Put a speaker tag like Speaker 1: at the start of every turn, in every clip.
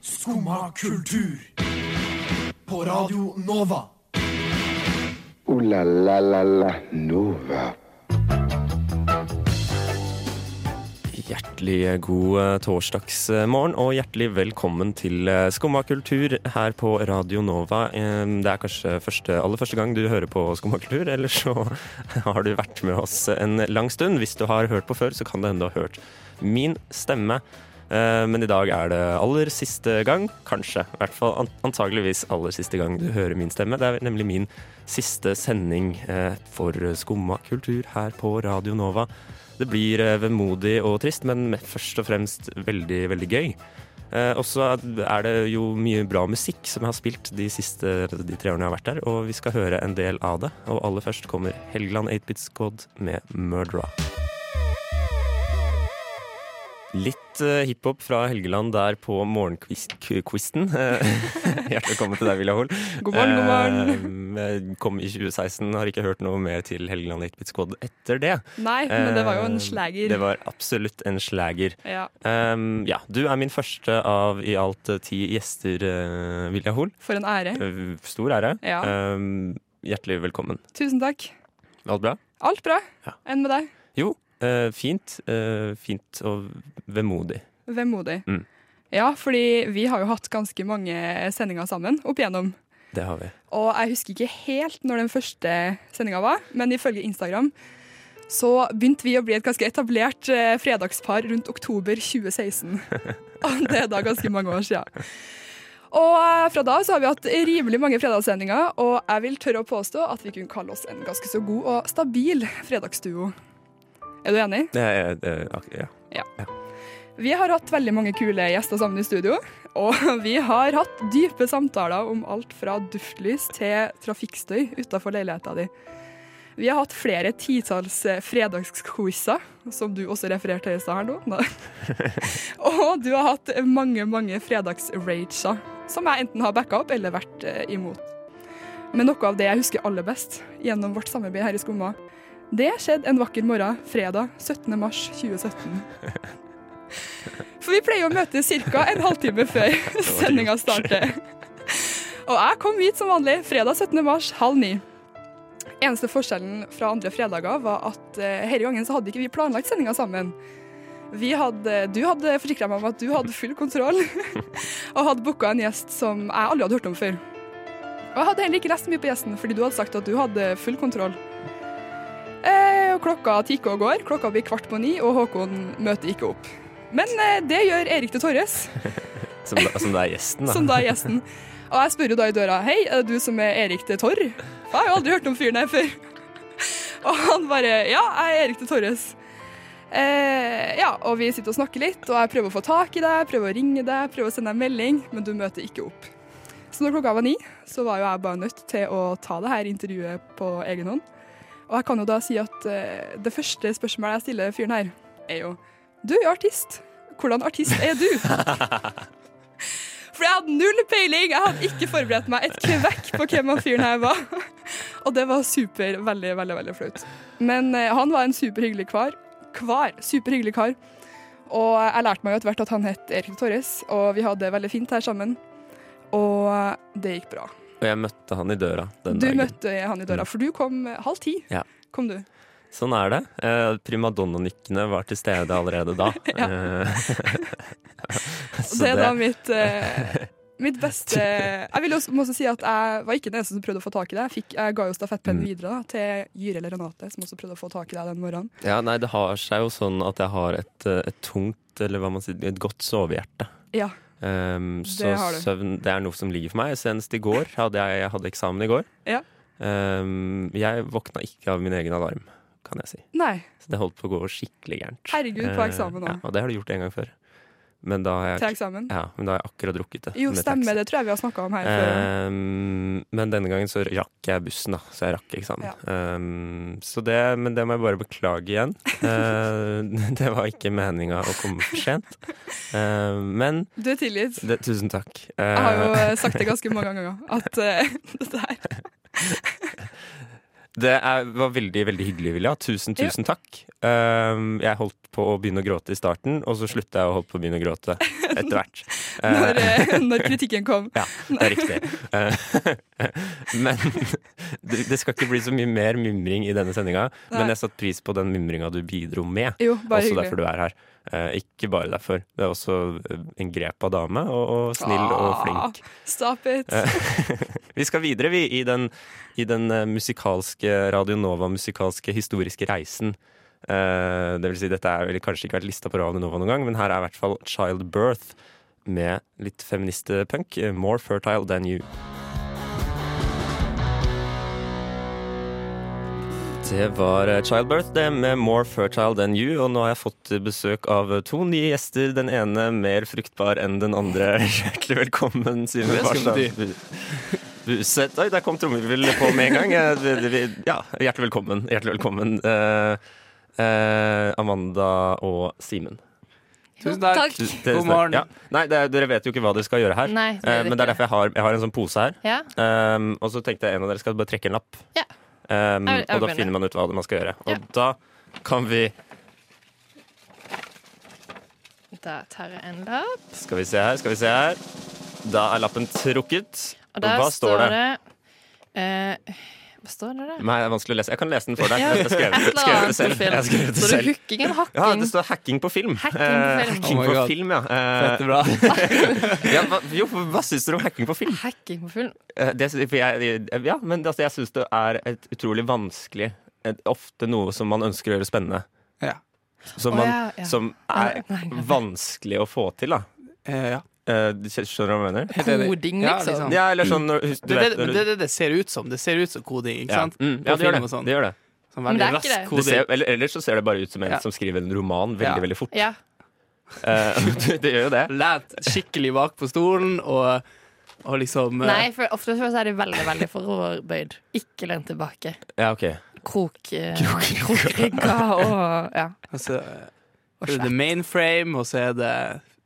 Speaker 1: Skumma kultur. På Radio Nova.
Speaker 2: Ooh la la la la Nova.
Speaker 3: Hjertelig god eh, torsdagsmorgen, og hjertelig velkommen til eh, Skumma kultur her på Radio Nova. Eh, Det er kanskje første, aller første gang du hører på Skumma kultur, eller så har du vært med oss en lang stund. Hvis du har hørt på før, så kan det hende du har hørt min stemme. Eh, Men i dag er det aller siste gang, kanskje. I hvert fall an- antageligvis aller siste gang du hører min stemme. Det er nemlig min siste sending eh, for Skumma kultur her på Radio Nova. Det blir eh, vemodig og trist, men me- først og fremst veldig, veldig gøy. Eh, og så er det jo mye bra musikk som jeg har spilt de siste de tre årene jeg har vært der, og vi skal høre en del av det. Og aller først kommer Helgeland 8-Bit Squad med 'Murdera'. Litt eh, hiphop fra Helgeland der på morgenquizen. Hjertelig velkommen til deg, Vilja Hoel.
Speaker 4: God morgen, god morgen.
Speaker 3: Eh, kom i 2016, har ikke hørt noe mer til Helgeland 8-Bit Squad etter det.
Speaker 4: Nei, men det var jo en
Speaker 3: Eh,
Speaker 4: slager.
Speaker 3: Det var absolutt en slager.
Speaker 4: Ja.
Speaker 3: Ehm, ja, du er min første av i alt eh, ti gjester, eh, Vilja Hoel.
Speaker 4: For en ære.
Speaker 3: Eh, stor ære.
Speaker 4: Ja.
Speaker 3: Ehm, hjertelig velkommen.
Speaker 4: Tusen takk.
Speaker 3: Alt bra?
Speaker 4: Alt bra.
Speaker 3: Ja.
Speaker 4: Enn med deg?
Speaker 3: Jo, eh, fint. eh, fint og vemodig.
Speaker 4: Vemodig.
Speaker 3: Mm.
Speaker 4: Ja, fordi vi har jo hatt ganske mange sendinger sammen opp igjennom.
Speaker 3: Det har vi.
Speaker 4: Og jeg husker ikke helt når den første sendinga var, men ifølge Instagram så begynte vi å bli et ganske etablert eh, fredagspar rundt oktober 2016. Og det er da ganske mange år siden. Og eh, fra da så har vi hatt rimelig mange fredagssendinger, og jeg vil tørre å påstå at vi kunne kalle oss en ganske så god og stabil fredagsduo. Er du enig?
Speaker 3: Det er, det er ak- ja.
Speaker 4: Vi har hatt veldig mange kule gjester sammen i studio, og vi har hatt dype samtaler om alt fra duftlys til trafikkstøy utafor leiligheta di. Vi har hatt flere titalls eh, fredagsquizer, som du også refererte til i stad her nå. Nei. og du har hatt mange, mange fredagsrager, som jeg enten har backa opp eller vært eh, imot. Men noe av det jeg husker aller best gjennom vårt samarbeid her i Skumma, det skjedde en vakker morgen fredag 17. mars 2017. For vi pleier å møtes ca. en halvtime før sendinga starter. Og jeg kom hit som vanlig fredag 17. mars halv ni. Eneste forskjellen fra andre fredager var at eh, denne gangen så hadde ikke vi planlagt sendinga sammen. Vi hadde, du hadde forsikra meg om at du hadde full kontroll, og hadde booka en gjest som jeg aldri hadde hørt om før. Og jeg hadde heller ikke lest mye på gjesten, fordi du hadde sagt at du hadde full kontroll. Eh, og klokka tikker og går, klokka blir kvart på ni, og Håkon møter ikke opp. Men eh, det gjør Erik de Torres,
Speaker 3: Som, da, som det er gjesten, da.
Speaker 4: som da er gjesten. Og jeg spør jo da i døra Hei, er det du som er Erik de Torr? For jeg har jo aldri hørt om fyren her før. Og han bare Ja, jeg er Erik de Torres. Eh, ja, og vi sitter og snakker litt, og jeg prøver å få tak i deg, prøver å ringe deg, prøver å sende deg en melding, men du møter ikke opp. Så når klokka var ni, så var jo jeg bare nødt til å ta det her intervjuet på egen hånd. Og jeg kan jo da si at eh, det første spørsmålet jeg stiller fyren her, er jo Du er jo artist. Hvordan artist er du? For jeg hadde null peiling. Jeg hadde ikke forberedt meg et kvekk på hvem han fyren her var. Og det var super, veldig, veldig veldig flaut. Men eh, han var en superhyggelig kar. Kvar. Superhyggelig kar. Og jeg lærte meg jo etter hvert at han het Erik Torres, og vi hadde det veldig fint her sammen. Og det gikk bra.
Speaker 3: Og jeg møtte han i døra den
Speaker 4: Du
Speaker 3: dagen.
Speaker 4: møtte han i døra, for du kom eh, halv ti.
Speaker 3: Ja.
Speaker 4: Kom du.
Speaker 3: Sånn er det. Eh, Primadonna-nikkene var til stede allerede da.
Speaker 4: Ja.
Speaker 3: Eh,
Speaker 4: Og
Speaker 3: så
Speaker 4: det er da
Speaker 3: det-
Speaker 4: mitt, eh, mitt beste Jeg vil også, må også si at jeg var ikke den eneste som prøvde å få tak i deg. Jeg, fikk, jeg ga jo
Speaker 3: Mm.
Speaker 4: stafettpennen videre da, til Gyre eller Renate, som også prøvde å få tak i deg den morgenen.
Speaker 3: Ja, nei, det har seg jo sånn at jeg har et, eh, et tungt, eller hva man sier, et godt sovehjerte.
Speaker 4: Ja,
Speaker 3: Ehm,
Speaker 4: Det
Speaker 3: så
Speaker 4: har du.
Speaker 3: søvn det er noe som ligger for meg. Senest i går hadde jeg, jeg hadde eksamen i går.
Speaker 4: Ja.
Speaker 3: Ehm, jeg våkna ikke av min egen alarm, kan jeg si.
Speaker 4: Nei,
Speaker 3: Så det holdt på å gå skikkelig gærent.
Speaker 4: herregud, på
Speaker 3: Ehm,
Speaker 4: eksamen
Speaker 3: ja,
Speaker 4: òg.
Speaker 3: og det har du gjort en gang før. Men da har
Speaker 4: Til
Speaker 3: jeg,
Speaker 4: eksamen.
Speaker 3: ja, men da har jeg akkurat drukket det.
Speaker 4: Jo,
Speaker 3: med
Speaker 4: stemmer,
Speaker 3: taxi.
Speaker 4: det tror jeg vi har snakka om her før.
Speaker 3: Ehm, men denne gangen så rakk jeg bussen, da, så jeg rakk eksamen. Ehm, så det, men det må jeg bare beklage igjen. Ehm, det var ikke meninga å komme for sent. Ehm, men
Speaker 4: Du er tilgitt.
Speaker 3: det, tusen takk.
Speaker 4: Jeg har jo
Speaker 3: Ehm,
Speaker 4: eh, sagt det ganske mange ganger at eh, dette her
Speaker 3: Det er, var veldig veldig hyggelig, Vilja. Tusen, tusen takk. Ehm, Um, jeg holdt på å begynne å gråte i starten, og så slutta jeg å holde på å begynne å gråte etter hvert.
Speaker 4: når, eh, når kritikken kom.
Speaker 3: Ja, det er riktig. Eh, Men det det skal ikke bli så mye mer mimring i denne sendinga. Men
Speaker 4: Nei.
Speaker 3: jeg satte pris på den mimringa du bidro med.
Speaker 4: Jo, bare
Speaker 3: også
Speaker 4: hyggelig.
Speaker 3: derfor du er her. Eh, ikke bare derfor. Du er også eh, en grepa dame, og, og snill og
Speaker 4: Ah,
Speaker 3: flink. Eh.
Speaker 4: Stop it.
Speaker 3: Vi skal videre, vi, i den, i den eh, musikalske Radio Nova-musikalske historiske reisen. Eh, det vil si, dette er vel kanskje ikke vært lista på Radio Nova noen gang, men her er i hvert fall Child Birth med litt feministpunk. eh, More fertile than you. Det var eh, Childbirth det med More Fertile Than You, og nå har jeg fått besøk av eh, to nye gjester. Den ene mer fruktbar enn den andre. Hjertelig velkommen, Simen
Speaker 1: Det skulle
Speaker 3: Barstad. Buset. Oi, der kom trommevirvel på med en gang. Eh, det- det- vi- Ja, hjertelig velkommen. Hjertelig velkommen. Eh, eh, Amanda og Simen.
Speaker 5: Tusen takk.
Speaker 6: Takk.
Speaker 3: Tusen- tusen takk.
Speaker 5: morgen.
Speaker 3: Ja. Nei, det, er- dere vet jo ikke hva dere skal gjøre her,
Speaker 6: Nei, det
Speaker 3: Eh,
Speaker 6: vet
Speaker 3: men det er
Speaker 6: jeg.
Speaker 3: derfor jeg har, jeg har en sånn pose her.
Speaker 6: Ja.
Speaker 3: Um, og så tenkte jeg en av dere skal bare trekke en lapp.
Speaker 6: Ja.
Speaker 3: Um,
Speaker 6: Jeg vil- jeg
Speaker 3: og
Speaker 6: vil
Speaker 3: da
Speaker 6: begynne.
Speaker 3: finner man ut hva det man skal gjøre. Og
Speaker 6: Ja.
Speaker 3: da kan vi
Speaker 6: Da tar jeg en lapp.
Speaker 3: Skal vi se her, skal vi se her. Da er lappen trukket.
Speaker 6: Og der
Speaker 3: hva står det?
Speaker 6: eh, Hva står det der?
Speaker 3: Nei, det er vanskelig å lese. Jeg kan lese den for deg.
Speaker 6: Ja.
Speaker 3: Jeg har skrevet,
Speaker 6: Et eller
Speaker 3: skrevet
Speaker 6: annet
Speaker 3: det selv. Jeg har
Speaker 6: på film. Står det hooking eller
Speaker 3: skrevet det selv.
Speaker 6: hacking?
Speaker 3: Ja, det står 'hacking på film'.
Speaker 6: Hacking på
Speaker 3: Eh,
Speaker 6: film.
Speaker 3: hacking
Speaker 5: Oh my
Speaker 3: på
Speaker 5: God.
Speaker 3: film ja. Eh,
Speaker 5: Dette er bra.
Speaker 3: ja hva, jo, hva syns dere om hacking på film?
Speaker 6: Hacking på film.
Speaker 3: Eh, Det, for jeg, ja, men altså, jeg syns det er et utrolig vanskelig et, Ofte noe som man ønsker å gjøre spennende.
Speaker 5: Ja.
Speaker 3: Som,
Speaker 6: Å,
Speaker 3: man,
Speaker 6: ja, ja.
Speaker 3: som er vanskelig å få til, da.
Speaker 5: Eh, ja.
Speaker 3: Eh, du skj- skjønner du hva jeg mener?
Speaker 5: Helt enig.
Speaker 6: Koding,
Speaker 5: Ja,
Speaker 6: liksom.
Speaker 3: Ja, eller sånn når, hus- du
Speaker 5: Det er
Speaker 3: vet,
Speaker 5: det,
Speaker 3: når
Speaker 5: men
Speaker 3: du-
Speaker 5: det, er det det ser ut som. Det ser ut som koding, ikke
Speaker 3: ja.
Speaker 5: sant?
Speaker 3: Mm,
Speaker 5: På
Speaker 3: ja, det gjør
Speaker 5: film og
Speaker 3: det.
Speaker 5: sånn.
Speaker 3: det, gjør det.
Speaker 5: Sånn
Speaker 6: Men det
Speaker 5: veldig
Speaker 6: er ikke
Speaker 5: rask
Speaker 6: det.
Speaker 3: det ser,
Speaker 5: koding.
Speaker 3: eller, ellers så ser det bare ut som en
Speaker 5: Ja.
Speaker 3: som skriver en roman veldig,
Speaker 5: Ja.
Speaker 3: veldig fort.
Speaker 6: Ja.
Speaker 3: Eh, det, det gjør jo det.
Speaker 5: Lent skikkelig bak på stolen og, og liksom eh,
Speaker 6: Nei, for ofte så er de veldig veldig foroverbøyd. Ikke lent tilbake.
Speaker 3: Ja, ok.
Speaker 6: Krok, eh, Krokrygga og ja.
Speaker 5: altså, eh,
Speaker 6: Og
Speaker 5: så er det
Speaker 6: slett.
Speaker 5: mainframe, og så er det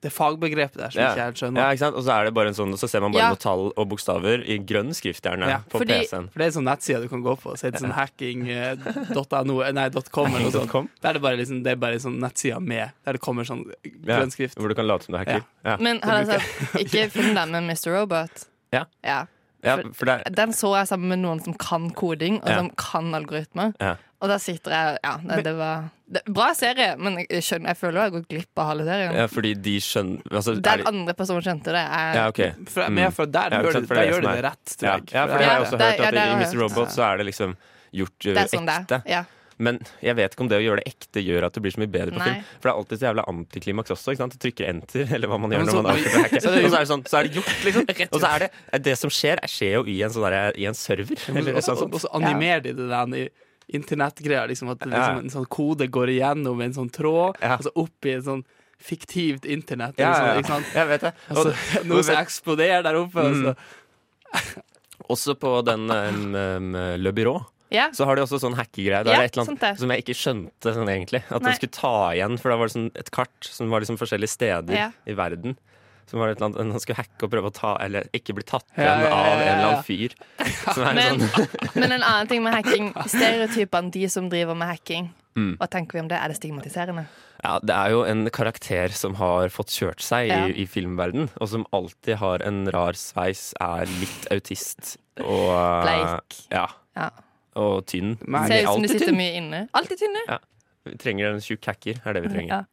Speaker 5: det er fagbegrepet der som
Speaker 3: Ja.
Speaker 5: ikke jeg helt
Speaker 3: Ja,
Speaker 5: skjønner.
Speaker 3: ikke sant? Og så er det bare en sånn Og så ser man bare
Speaker 6: Ja.
Speaker 3: noen tall og bokstaver i grønn skrift gjerne
Speaker 5: Ja,
Speaker 3: på
Speaker 6: fordi-
Speaker 3: PC-en.
Speaker 5: For det er en sånn nettside du kan gå på, så heter det sånn hacking.no, eh, nei, .com eller noe sånt.
Speaker 3: Hacking.com?
Speaker 5: Der er det bare liksom, det er bare sånn nettsida med, der det kommer sånn
Speaker 3: Ja, Mm.
Speaker 5: grønn skrift.
Speaker 3: Hvor du kan late som du er hacker. Ja.
Speaker 6: Men har dere sett Ikke film den med Mr. Robot.
Speaker 3: Ja.
Speaker 6: ja.
Speaker 3: Ja, for det er
Speaker 6: Den så jeg sammen med noen som kan koding, og
Speaker 3: Ja.
Speaker 6: som kan algoritmer.
Speaker 3: Ja.
Speaker 6: Og der sitter jeg Ja, nei, det var det, Bra serie, men jeg, skjønner, jeg føler jeg har gått glipp av halve serien.
Speaker 3: ja, fordi de skjønner altså, er
Speaker 6: Den
Speaker 3: de-
Speaker 6: andre personen skjønte det. Jeg,
Speaker 3: Ja, ok.
Speaker 5: For, men jeg, for der,
Speaker 3: Ja, ikke
Speaker 5: gjør,
Speaker 3: sant,
Speaker 5: de-
Speaker 3: for det
Speaker 5: der
Speaker 3: er
Speaker 5: gjør
Speaker 3: det
Speaker 5: de
Speaker 3: som
Speaker 5: det rett, tror
Speaker 3: Ja,
Speaker 5: jeg.
Speaker 3: ja, for jeg
Speaker 5: det
Speaker 6: Ja,
Speaker 3: har
Speaker 5: er
Speaker 3: også
Speaker 6: der-
Speaker 3: hørt
Speaker 6: ja,
Speaker 3: at
Speaker 6: der har
Speaker 3: i
Speaker 6: jeg
Speaker 3: Mr.
Speaker 6: hørt.
Speaker 3: Robot så er det liksom gjort eh,
Speaker 6: det er sånn det
Speaker 3: ekte.
Speaker 6: er. Ja.
Speaker 3: Men jeg vet ikke om det å gjøre det ekte gjør at det blir så mye bedre på
Speaker 6: Nei.
Speaker 3: film. For det er alltid så jævla antiklimaks også. Ikke sant? Du trykker enter, eller hva man
Speaker 5: Ja,
Speaker 3: gjør
Speaker 5: men
Speaker 3: når
Speaker 5: så-
Speaker 3: man avslutter å hacke.
Speaker 5: så er det jo-
Speaker 3: Og så er det sånn, så er det gjort, liksom. Og så er det det som skjer, er- skjer jo i en, sånn derre- i en server. Eller,
Speaker 5: Og
Speaker 3: sånn,
Speaker 5: så-
Speaker 3: sånn.
Speaker 5: og så animerer de det der i internettgreia. Liksom, at det
Speaker 3: Ja.
Speaker 5: liksom, en sånn kode går igjennom en sånn tråd,
Speaker 3: Ja.
Speaker 5: og så opp i et sånn fiktivt internett.
Speaker 3: Ja, ja,
Speaker 5: eller
Speaker 3: ja.
Speaker 5: sånn, ikke sant?
Speaker 3: Jeg vet det.
Speaker 5: Og
Speaker 3: Og, Mm.
Speaker 5: så, noe som eksploderer der oppe. altså. Og så.
Speaker 3: også på den em, em, Le Byrå
Speaker 6: Ja.
Speaker 3: så har de også sånn hackegreie. Da
Speaker 6: Ja,
Speaker 3: er det et eller
Speaker 6: sant
Speaker 3: annet
Speaker 6: det.
Speaker 3: som jeg ikke skjønte sånn egentlig. At
Speaker 6: Nei.
Speaker 3: den skulle ta igjen, for da var det sånn et kart som var liksom forskjellige steder
Speaker 6: Ja.
Speaker 3: i verden. Som var et eller annet, Han skulle hacke og prøve å ta Eller ikke bli tatt
Speaker 5: Ja,
Speaker 3: igjen
Speaker 5: ja, ja,
Speaker 3: av en
Speaker 5: ja,
Speaker 3: eller
Speaker 5: ja.
Speaker 3: annen fyr. Som er
Speaker 6: Men,
Speaker 3: sånn
Speaker 6: men en annen ting med hacking stereotypene de som driver med hacking.
Speaker 3: Mm.
Speaker 6: Hva tenker vi om det? Er det stigmatiserende?
Speaker 3: Ja, Det er jo en karakter som har fått kjørt seg
Speaker 6: Ja.
Speaker 3: i, i filmverden, og som alltid har en rar sveis, er litt autist og
Speaker 6: Bleik.
Speaker 3: Ja,
Speaker 6: Ja.
Speaker 3: og tynn.
Speaker 5: Men-
Speaker 6: Ser
Speaker 3: Vi er
Speaker 6: ut som de
Speaker 3: alltid
Speaker 6: sitter
Speaker 3: tynn.
Speaker 6: mye inne. Alltid tynne.
Speaker 3: Vi trenger en tjukk hacker, er det vi trenger.
Speaker 6: Ja.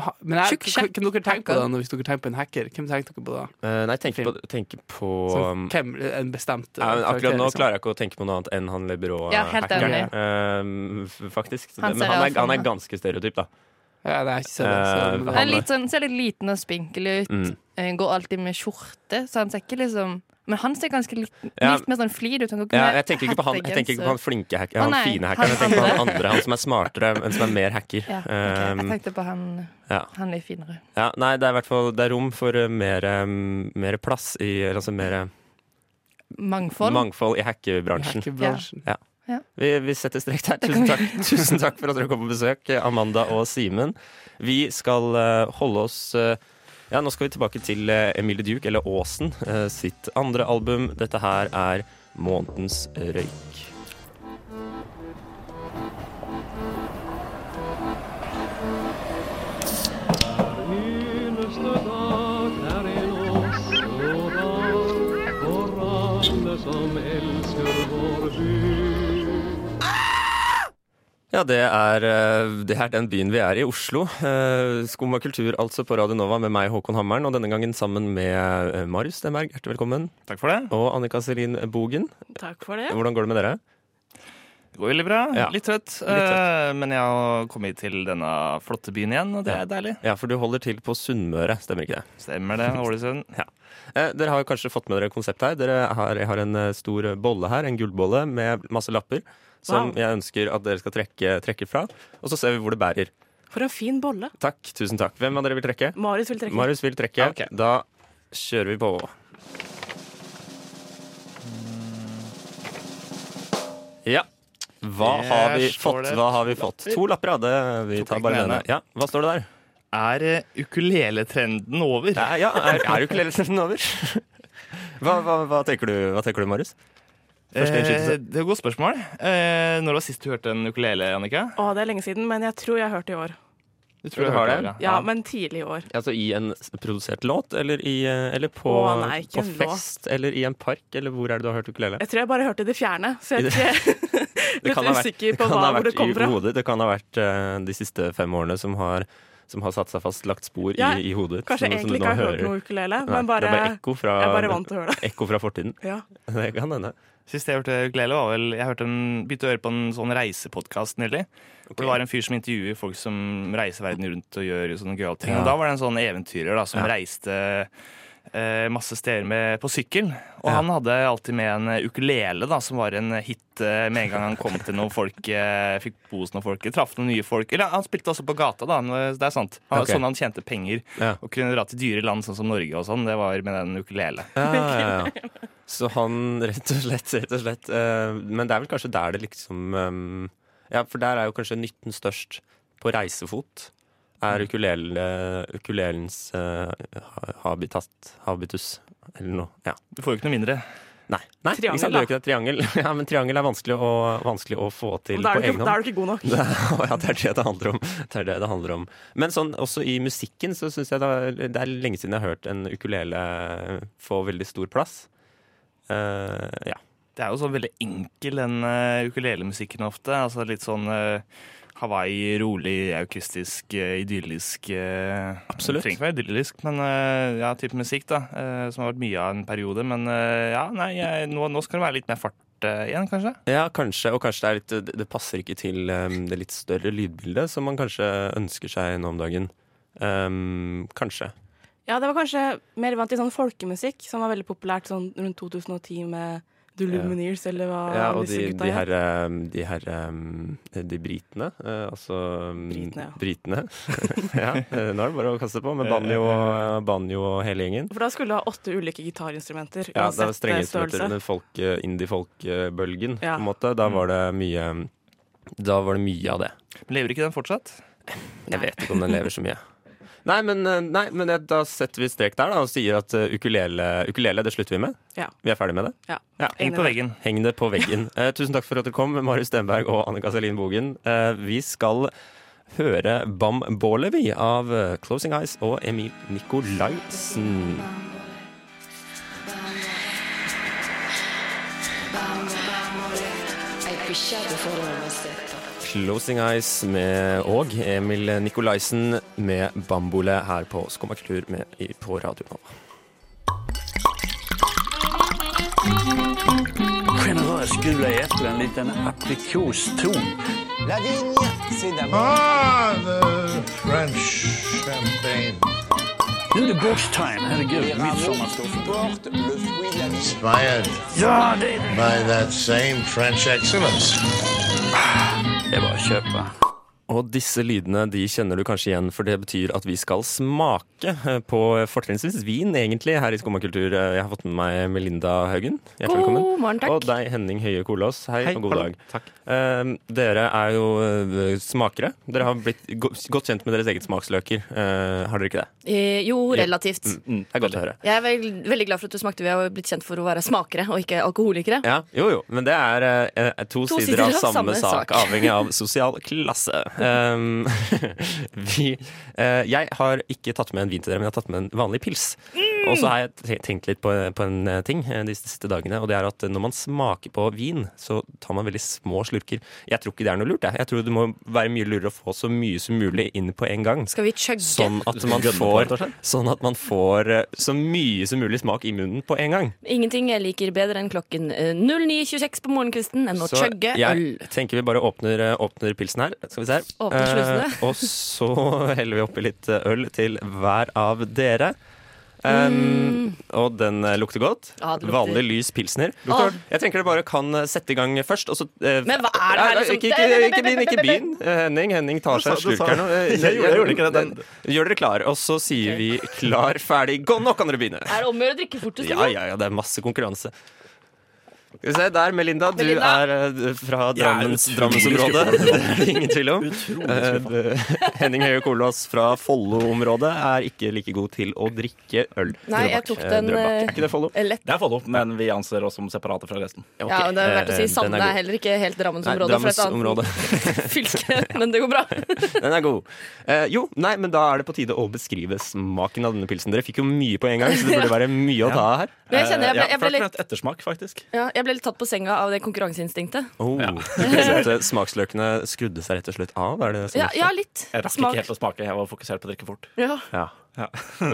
Speaker 5: Ha- Men jeg,
Speaker 6: Tjukk
Speaker 5: kan, kan dere tenke på
Speaker 6: hacker.
Speaker 5: det når- hvis dere tenker på en hacker? Hvem tenker dere på da?
Speaker 3: Eh, nei, tenk
Speaker 5: Film.
Speaker 3: på, tenk på um,
Speaker 5: Sånn, hvem, en bestemt eh,
Speaker 3: ja, men
Speaker 5: karakter,
Speaker 3: Akkurat nå
Speaker 5: liksom.
Speaker 3: klarer jeg ikke å tenke på noe annet enn han
Speaker 6: Ja, helt
Speaker 3: Lebyrå-hackeren. Ehm, faktisk. Så
Speaker 6: Han
Speaker 3: det,
Speaker 6: ser sånn,
Speaker 3: men han
Speaker 6: jeg
Speaker 3: er,
Speaker 6: for
Speaker 3: han
Speaker 6: meg.
Speaker 3: er ganske stereotyp, da.
Speaker 5: ja, det er ikke så,
Speaker 3: Eh,
Speaker 5: så,
Speaker 6: Han
Speaker 5: men
Speaker 3: han-
Speaker 6: er litt sånn, ser litt liten og spinkelig ut.
Speaker 3: Mm.
Speaker 6: Eh, Går alltid med skjorte, så han ser ikke liksom Men han ser ganske litt,
Speaker 3: Ja.
Speaker 6: litt mer sånn flid ut. Han går ikke
Speaker 3: Ja,
Speaker 6: med
Speaker 3: jeg tenker ikke på han, jeg tenker ikke på han
Speaker 6: hettegenser.
Speaker 3: flinke
Speaker 6: Å,
Speaker 3: hackeren, han
Speaker 6: nei,
Speaker 3: fine
Speaker 6: han
Speaker 3: hackeren. Jeg tenker på han
Speaker 6: andre.
Speaker 3: andre, han som er smartere, men som er mer hacker.
Speaker 6: Ja, ok. Jeg
Speaker 3: Eh,
Speaker 6: tenkte på han,
Speaker 3: ja.
Speaker 6: han litt finere.
Speaker 3: Ja, nei, det er i hvert fall det er rom for eh, mer, eh, mer plass i eller Altså mer eh,
Speaker 6: Mangfold.
Speaker 3: mangfold i hackebransjen.
Speaker 5: hackerbransjen.
Speaker 3: Vi, vi setter strek der. Tusen takk, tusen takk for at dere kom på besøk, eh, Amanda og Simen. Vi skal eh, holde oss eh, Ja, nå skal vi tilbake til eh, Emilie Duke, eller Aasen, eh, sitt andre album. Dette her er Månedens røyk.
Speaker 7: Eneste dag er en
Speaker 3: Ja, det er, eh, det er den byen vi er i, Oslo. Eh, Skum og kultur altså på Radio Nova med meg, Håkon Hammeren, og denne gangen sammen med eh, Marius Stenberg, hjertelig velkommen,
Speaker 7: Takk for det.
Speaker 3: og Annika Selin Bogen.
Speaker 8: Takk for det.
Speaker 3: Hvordan går det med dere?
Speaker 7: Det går veldig bra.
Speaker 3: Ja.
Speaker 7: Litt trøtt, eh, men jeg har kommet hit til denne flotte byen igjen, og det er deilig.
Speaker 3: Ja, for du holder til på Sunnmøre, stemmer ikke det?
Speaker 7: Stemmer det, Ålesund.
Speaker 3: Eh, Dere har jo kanskje fått med dere konseptet her. Dere har, jeg har en eh, stor bolle her, en gullbolle med masse lapper, som
Speaker 8: Wow.
Speaker 3: jeg ønsker at dere skal trekke, trekke fra, og så ser vi hvor det bærer.
Speaker 8: For en fin bolle.
Speaker 3: Takk, tusen takk. Hvem av dere vil trekke?
Speaker 8: Marius vil trekke.
Speaker 3: Marius vil trekke.
Speaker 5: Ok.
Speaker 3: Da kjører vi på. Ja. Hva
Speaker 5: Der
Speaker 3: har vi
Speaker 5: står
Speaker 3: fått?
Speaker 5: det
Speaker 3: Hva har vi fått? To lapper, ja. Det, vi tar
Speaker 5: Tok ikke
Speaker 3: bare
Speaker 5: den
Speaker 3: denne.
Speaker 5: ene.
Speaker 3: Ja. Hva står det der?
Speaker 5: Er eh, uleleletrenden over?
Speaker 3: Ja, ja er, er ukulelesen over? Hva, hva, hva, tenker du, hva tenker du, Marius? Første
Speaker 5: Eh,
Speaker 3: innskytelse.
Speaker 5: det er et godt spørsmål. Eh, når var sist du hørte en ukulele, Annika?
Speaker 8: Å, det er lenge siden, men jeg tror jeg har hørt det i år.
Speaker 5: Du
Speaker 3: Du
Speaker 5: tror jeg
Speaker 3: har
Speaker 5: hørte
Speaker 3: det?
Speaker 5: det,
Speaker 8: Ja, men tidlig i år.
Speaker 3: Altså I en s- produsert låt, eller, i, eh, eller på,
Speaker 8: Å, nei, ikke
Speaker 3: på
Speaker 8: en låt.
Speaker 3: fest, eller i en park, eller hvor er det du har hørt ukulele?
Speaker 8: Jeg tror jeg bare hørte det i det fjerne, så
Speaker 3: I
Speaker 8: jeg er ikke litt
Speaker 3: kan ha vært-
Speaker 8: usikker på
Speaker 3: kan
Speaker 8: hva,
Speaker 3: ha vært
Speaker 8: hvor det kom
Speaker 3: i
Speaker 8: fra.
Speaker 3: Hodet. Det kan ha vært eh, de siste fem årene som har, som har satt seg fast, lagt spor
Speaker 8: Ja,
Speaker 3: i, i hodet.
Speaker 8: Kanskje
Speaker 3: som-
Speaker 8: jeg
Speaker 3: som
Speaker 8: egentlig
Speaker 3: du
Speaker 8: ikke
Speaker 3: nå
Speaker 8: har hørt
Speaker 3: hører.
Speaker 8: noe ukulele,
Speaker 3: Nei,
Speaker 8: men bare,
Speaker 3: Det er bare ekko fra,
Speaker 8: jeg er bare vant til å høre det.
Speaker 3: ekko fra fortiden.
Speaker 8: Ja.
Speaker 3: Det kan hende.
Speaker 7: Sist jeg hørte ukulele, var vel Jeg hørte en, begynte å høre på en sånn reisepodkast nylig. Hvor det var en fyr som intervjuer folk som reiser verden rundt og gjør sånne gøyale ting.
Speaker 3: Ja.
Speaker 7: Og da var det en sånn eventyrer da, som
Speaker 3: Ja.
Speaker 7: reiste eh, masse steder med, på sykkel. Og
Speaker 3: Ja.
Speaker 7: han hadde alltid med en eh, ukulele, da, som var en hit eh, med en gang han kom til noen folk, eh, fikk bo hos noen folk, traff noen nye folk. Eller han spilte også på gata, da. han- Det er sant. Han,
Speaker 3: Ok.
Speaker 7: Sånn han tjente penger.
Speaker 3: Ja.
Speaker 7: Og kunne dra til dyre land, sånn som Norge og sånn. Det var med den ukulele.
Speaker 3: Ja, ja, ja. Så han rett og slett, rett og slett eh, Men det er vel kanskje der det liksom eh, Ja, for der er jo kanskje nytten størst på reisefot. Er
Speaker 8: Mm.
Speaker 3: ukulele, ukulelens eh, ha- habitat, habitus, eller noe. Ja.
Speaker 7: Du får jo ikke noe mindre.
Speaker 3: Nei. Nei
Speaker 8: Triangel,
Speaker 3: ikke sant? Det er jo ikke det. Triangel. Ja, men triangel er vanskelig å, vanskelig å få til
Speaker 8: Da
Speaker 3: på
Speaker 8: er, du
Speaker 3: egen
Speaker 8: ikke, da
Speaker 3: hånd.
Speaker 8: er du ikke god nok.
Speaker 3: Det er- ja, det er det det handler om. Det er det det handler om. Men sånn, også i musikken så syns jeg det er, det er lenge siden jeg har hørt en ukulele få veldig stor plass. Eh, ja.
Speaker 7: Det er jo sånn veldig enkel, den uh, ukulelemusikken ofte. Altså litt sånn eh, Hawaii, rolig, aukustisk, eh, idyllisk. eh,
Speaker 3: Absolutt.
Speaker 7: Det trenger ikke være idyllisk, men eh, ja, type musikk, da. eh, som har vært mye av en periode. Men eh, ja, nei, jeg, nå, nå skal det være litt mer fart eh, igjen, kanskje.
Speaker 3: ja, kanskje. Og kanskje det, er litt, det- det passer ikke til eh, det litt større lydbildet som man kanskje ønsker seg nå om dagen. Eh, kanskje.
Speaker 8: Ja, det var kanskje mer vant til sånn folkemusikk, som var veldig populært sånn rundt 2010 med The Lumineers, eller hva
Speaker 3: Ja, og
Speaker 8: disse
Speaker 3: de,
Speaker 8: gutta
Speaker 3: de
Speaker 8: het.
Speaker 3: her, eh, de, her eh, de britene, eh, altså mm,
Speaker 8: Britene, ja.
Speaker 3: britene. ja, eh, nå er det bare å kaste på med banjo
Speaker 8: eh,
Speaker 3: og, banjo og hele gjengen.
Speaker 8: For da skulle du ha åtte ulike gitarinstrumenter,
Speaker 3: Ja, det var
Speaker 8: uansett
Speaker 3: strenge
Speaker 8: eh,
Speaker 3: instrumenter
Speaker 8: størrelse.
Speaker 3: under folk, eh, indie-folk-bølgen,
Speaker 8: Ja. Mm.
Speaker 3: på en måte. Da var det mye Da var det mye av det.
Speaker 7: Men lever ikke den fortsatt?
Speaker 3: Jeg vet ikke om den lever så mye. Nei, men, eh, nei, men eh, da setter vi strek der da, og sier at eh, ukulele, ukulele, det slutter vi med.
Speaker 8: Ja.
Speaker 3: Vi er ferdig med det.
Speaker 7: Ja,
Speaker 8: Enig
Speaker 7: Heng på
Speaker 8: med.
Speaker 7: veggen.
Speaker 3: Heng det på veggen. Eh, tusen takk for at dere kom, Marius Stenberg og Annika Selin Bogen. Eh, vi skal høre Bam Borlevi av eh, Closing Eyes og Emil Nikolaisen. Closing Eyes med og Emil Nikolaisen med Bambole her på Skommakultur på Radio Nova. Og disse lydene de kjenner du kanskje igjen, for det betyr at vi skal smake eh, på fortrinnsvis vin, egentlig, her i Skummakultur. Jeg har fått med meg Melinda Haugen. Hjertelig
Speaker 6: God
Speaker 3: velkommen.
Speaker 6: morgen, takk.
Speaker 3: Og deg, Henning Høie Kolås. Hei, og god
Speaker 5: hallo.
Speaker 3: dag. Eh, dere er jo eh, smakere. Dere har blitt go godt kjent med deres eget smaksløker. Eh, har dere ikke det?
Speaker 6: Eh, jo, relativt.
Speaker 3: Mm, Det er godt å høre.
Speaker 6: Jeg er vel, veldig glad for at du smakte. Vi har jo blitt kjent for å være smakere og ikke alkoholikere.
Speaker 3: Ja, jo, jo, men det er eh, to, sider, av samme, sak, avhengig av sosial klasse. Um, vi, eh, jeg har ikke tatt med en vin til dere, men jeg har tatt med en vanlig pils. Og så har jeg te- tenkt litt på, på en eh, ting eh, de siste dagene, og det er at når man smaker på vin, så tar man veldig små slurker. Jeg tror ikke det er noe lurt, jeg. Jeg tror det må være mye lurere å få så mye som mulig inn på en gang.
Speaker 6: Skal vi chugge?
Speaker 3: Sånn at, man får, sånn at man får eh, så mye som mulig smak i munnen på en gang.
Speaker 9: Ingenting jeg liker bedre enn klokken eh, 09.26 på morgenkvisten enn å
Speaker 3: Så
Speaker 9: chugge øl.
Speaker 3: jeg tenker vi bare åpner, eh, åpner pilsen her. Skal vi se her.
Speaker 9: Åpner slusene.
Speaker 3: Eh, og så heller vi oppi litt eh, øl til hver av dere. Um, Og den eh, lukter godt.
Speaker 9: Mm. Ja, det lukter-
Speaker 3: Vanlig lys pilsner.
Speaker 9: Lukter-
Speaker 3: Åh. Jeg tenker dere bare kan eh, sette i gang først, og så eh,
Speaker 9: Men hva er det her,
Speaker 3: Nei, nei,
Speaker 9: liksom?
Speaker 3: Ikke, ikke, ikke, begynn, ikke begynn. Eh, Henning, Henning tar seg en
Speaker 5: du
Speaker 3: slurk
Speaker 5: sa-
Speaker 3: her nå. Eh,
Speaker 5: Jeg gjorde- jeg gjorde ikke det. Den-
Speaker 3: Gjør dere klar, og så sier vi klar, ferdig, gå! Nå kan dere begynne.
Speaker 9: Er det om å gjøre å drikke sånn? fortest?
Speaker 3: Ja,
Speaker 9: eller?
Speaker 3: ja, ja, det er masse konkurranse. Skal vi se, der, Melinda. Du
Speaker 9: Melinda.
Speaker 3: er eh, fra
Speaker 5: Jeg er
Speaker 3: Drammens,
Speaker 5: utrolig
Speaker 3: Drammensområdet. Det er det ingen tvil om. Eh,
Speaker 5: Utrolig
Speaker 3: det- Henning Høie Kolås fra Follo-området er ikke like god til å drikke øl.
Speaker 6: Nei, jeg tok den,
Speaker 3: Eh, Drøbak. Er
Speaker 6: eh,
Speaker 3: ikke det Follo?
Speaker 6: Lett.
Speaker 5: Det er Follo, men vi anser oss som separate fra resten.
Speaker 3: Ok,
Speaker 9: Ja, men det er verdt å
Speaker 3: eh,
Speaker 9: si Sande
Speaker 3: den
Speaker 9: er,
Speaker 3: god.
Speaker 9: heller ikke helt
Speaker 3: Nei,
Speaker 9: Drammensområdet. for et annet
Speaker 3: Drammensområdet.
Speaker 9: fylke, men det går bra.
Speaker 3: Den er god. Eh, jo, nei, men da er det på tide å beskrive smaken av denne pilsen. Dere fikk jo mye på en gang, så det burde være mye å ta av her.
Speaker 9: Men jeg kjenner jeg ble,
Speaker 5: Eh, Ja,
Speaker 9: jeg ble,
Speaker 5: ført med
Speaker 9: litt,
Speaker 5: et ettersmak, faktisk.
Speaker 9: ja, jeg ble litt tatt på senga av det konkurranseinstinktet.
Speaker 3: Oh, så at Smaksløkene skrudde seg rett og slett av? Er det som
Speaker 9: Ja, ja litt.
Speaker 5: Jeg rakk
Speaker 9: Smak.
Speaker 5: ikke helt å smake, jeg var fokusert på å drikke fort.
Speaker 9: Ja.
Speaker 3: Ja.
Speaker 5: Ja.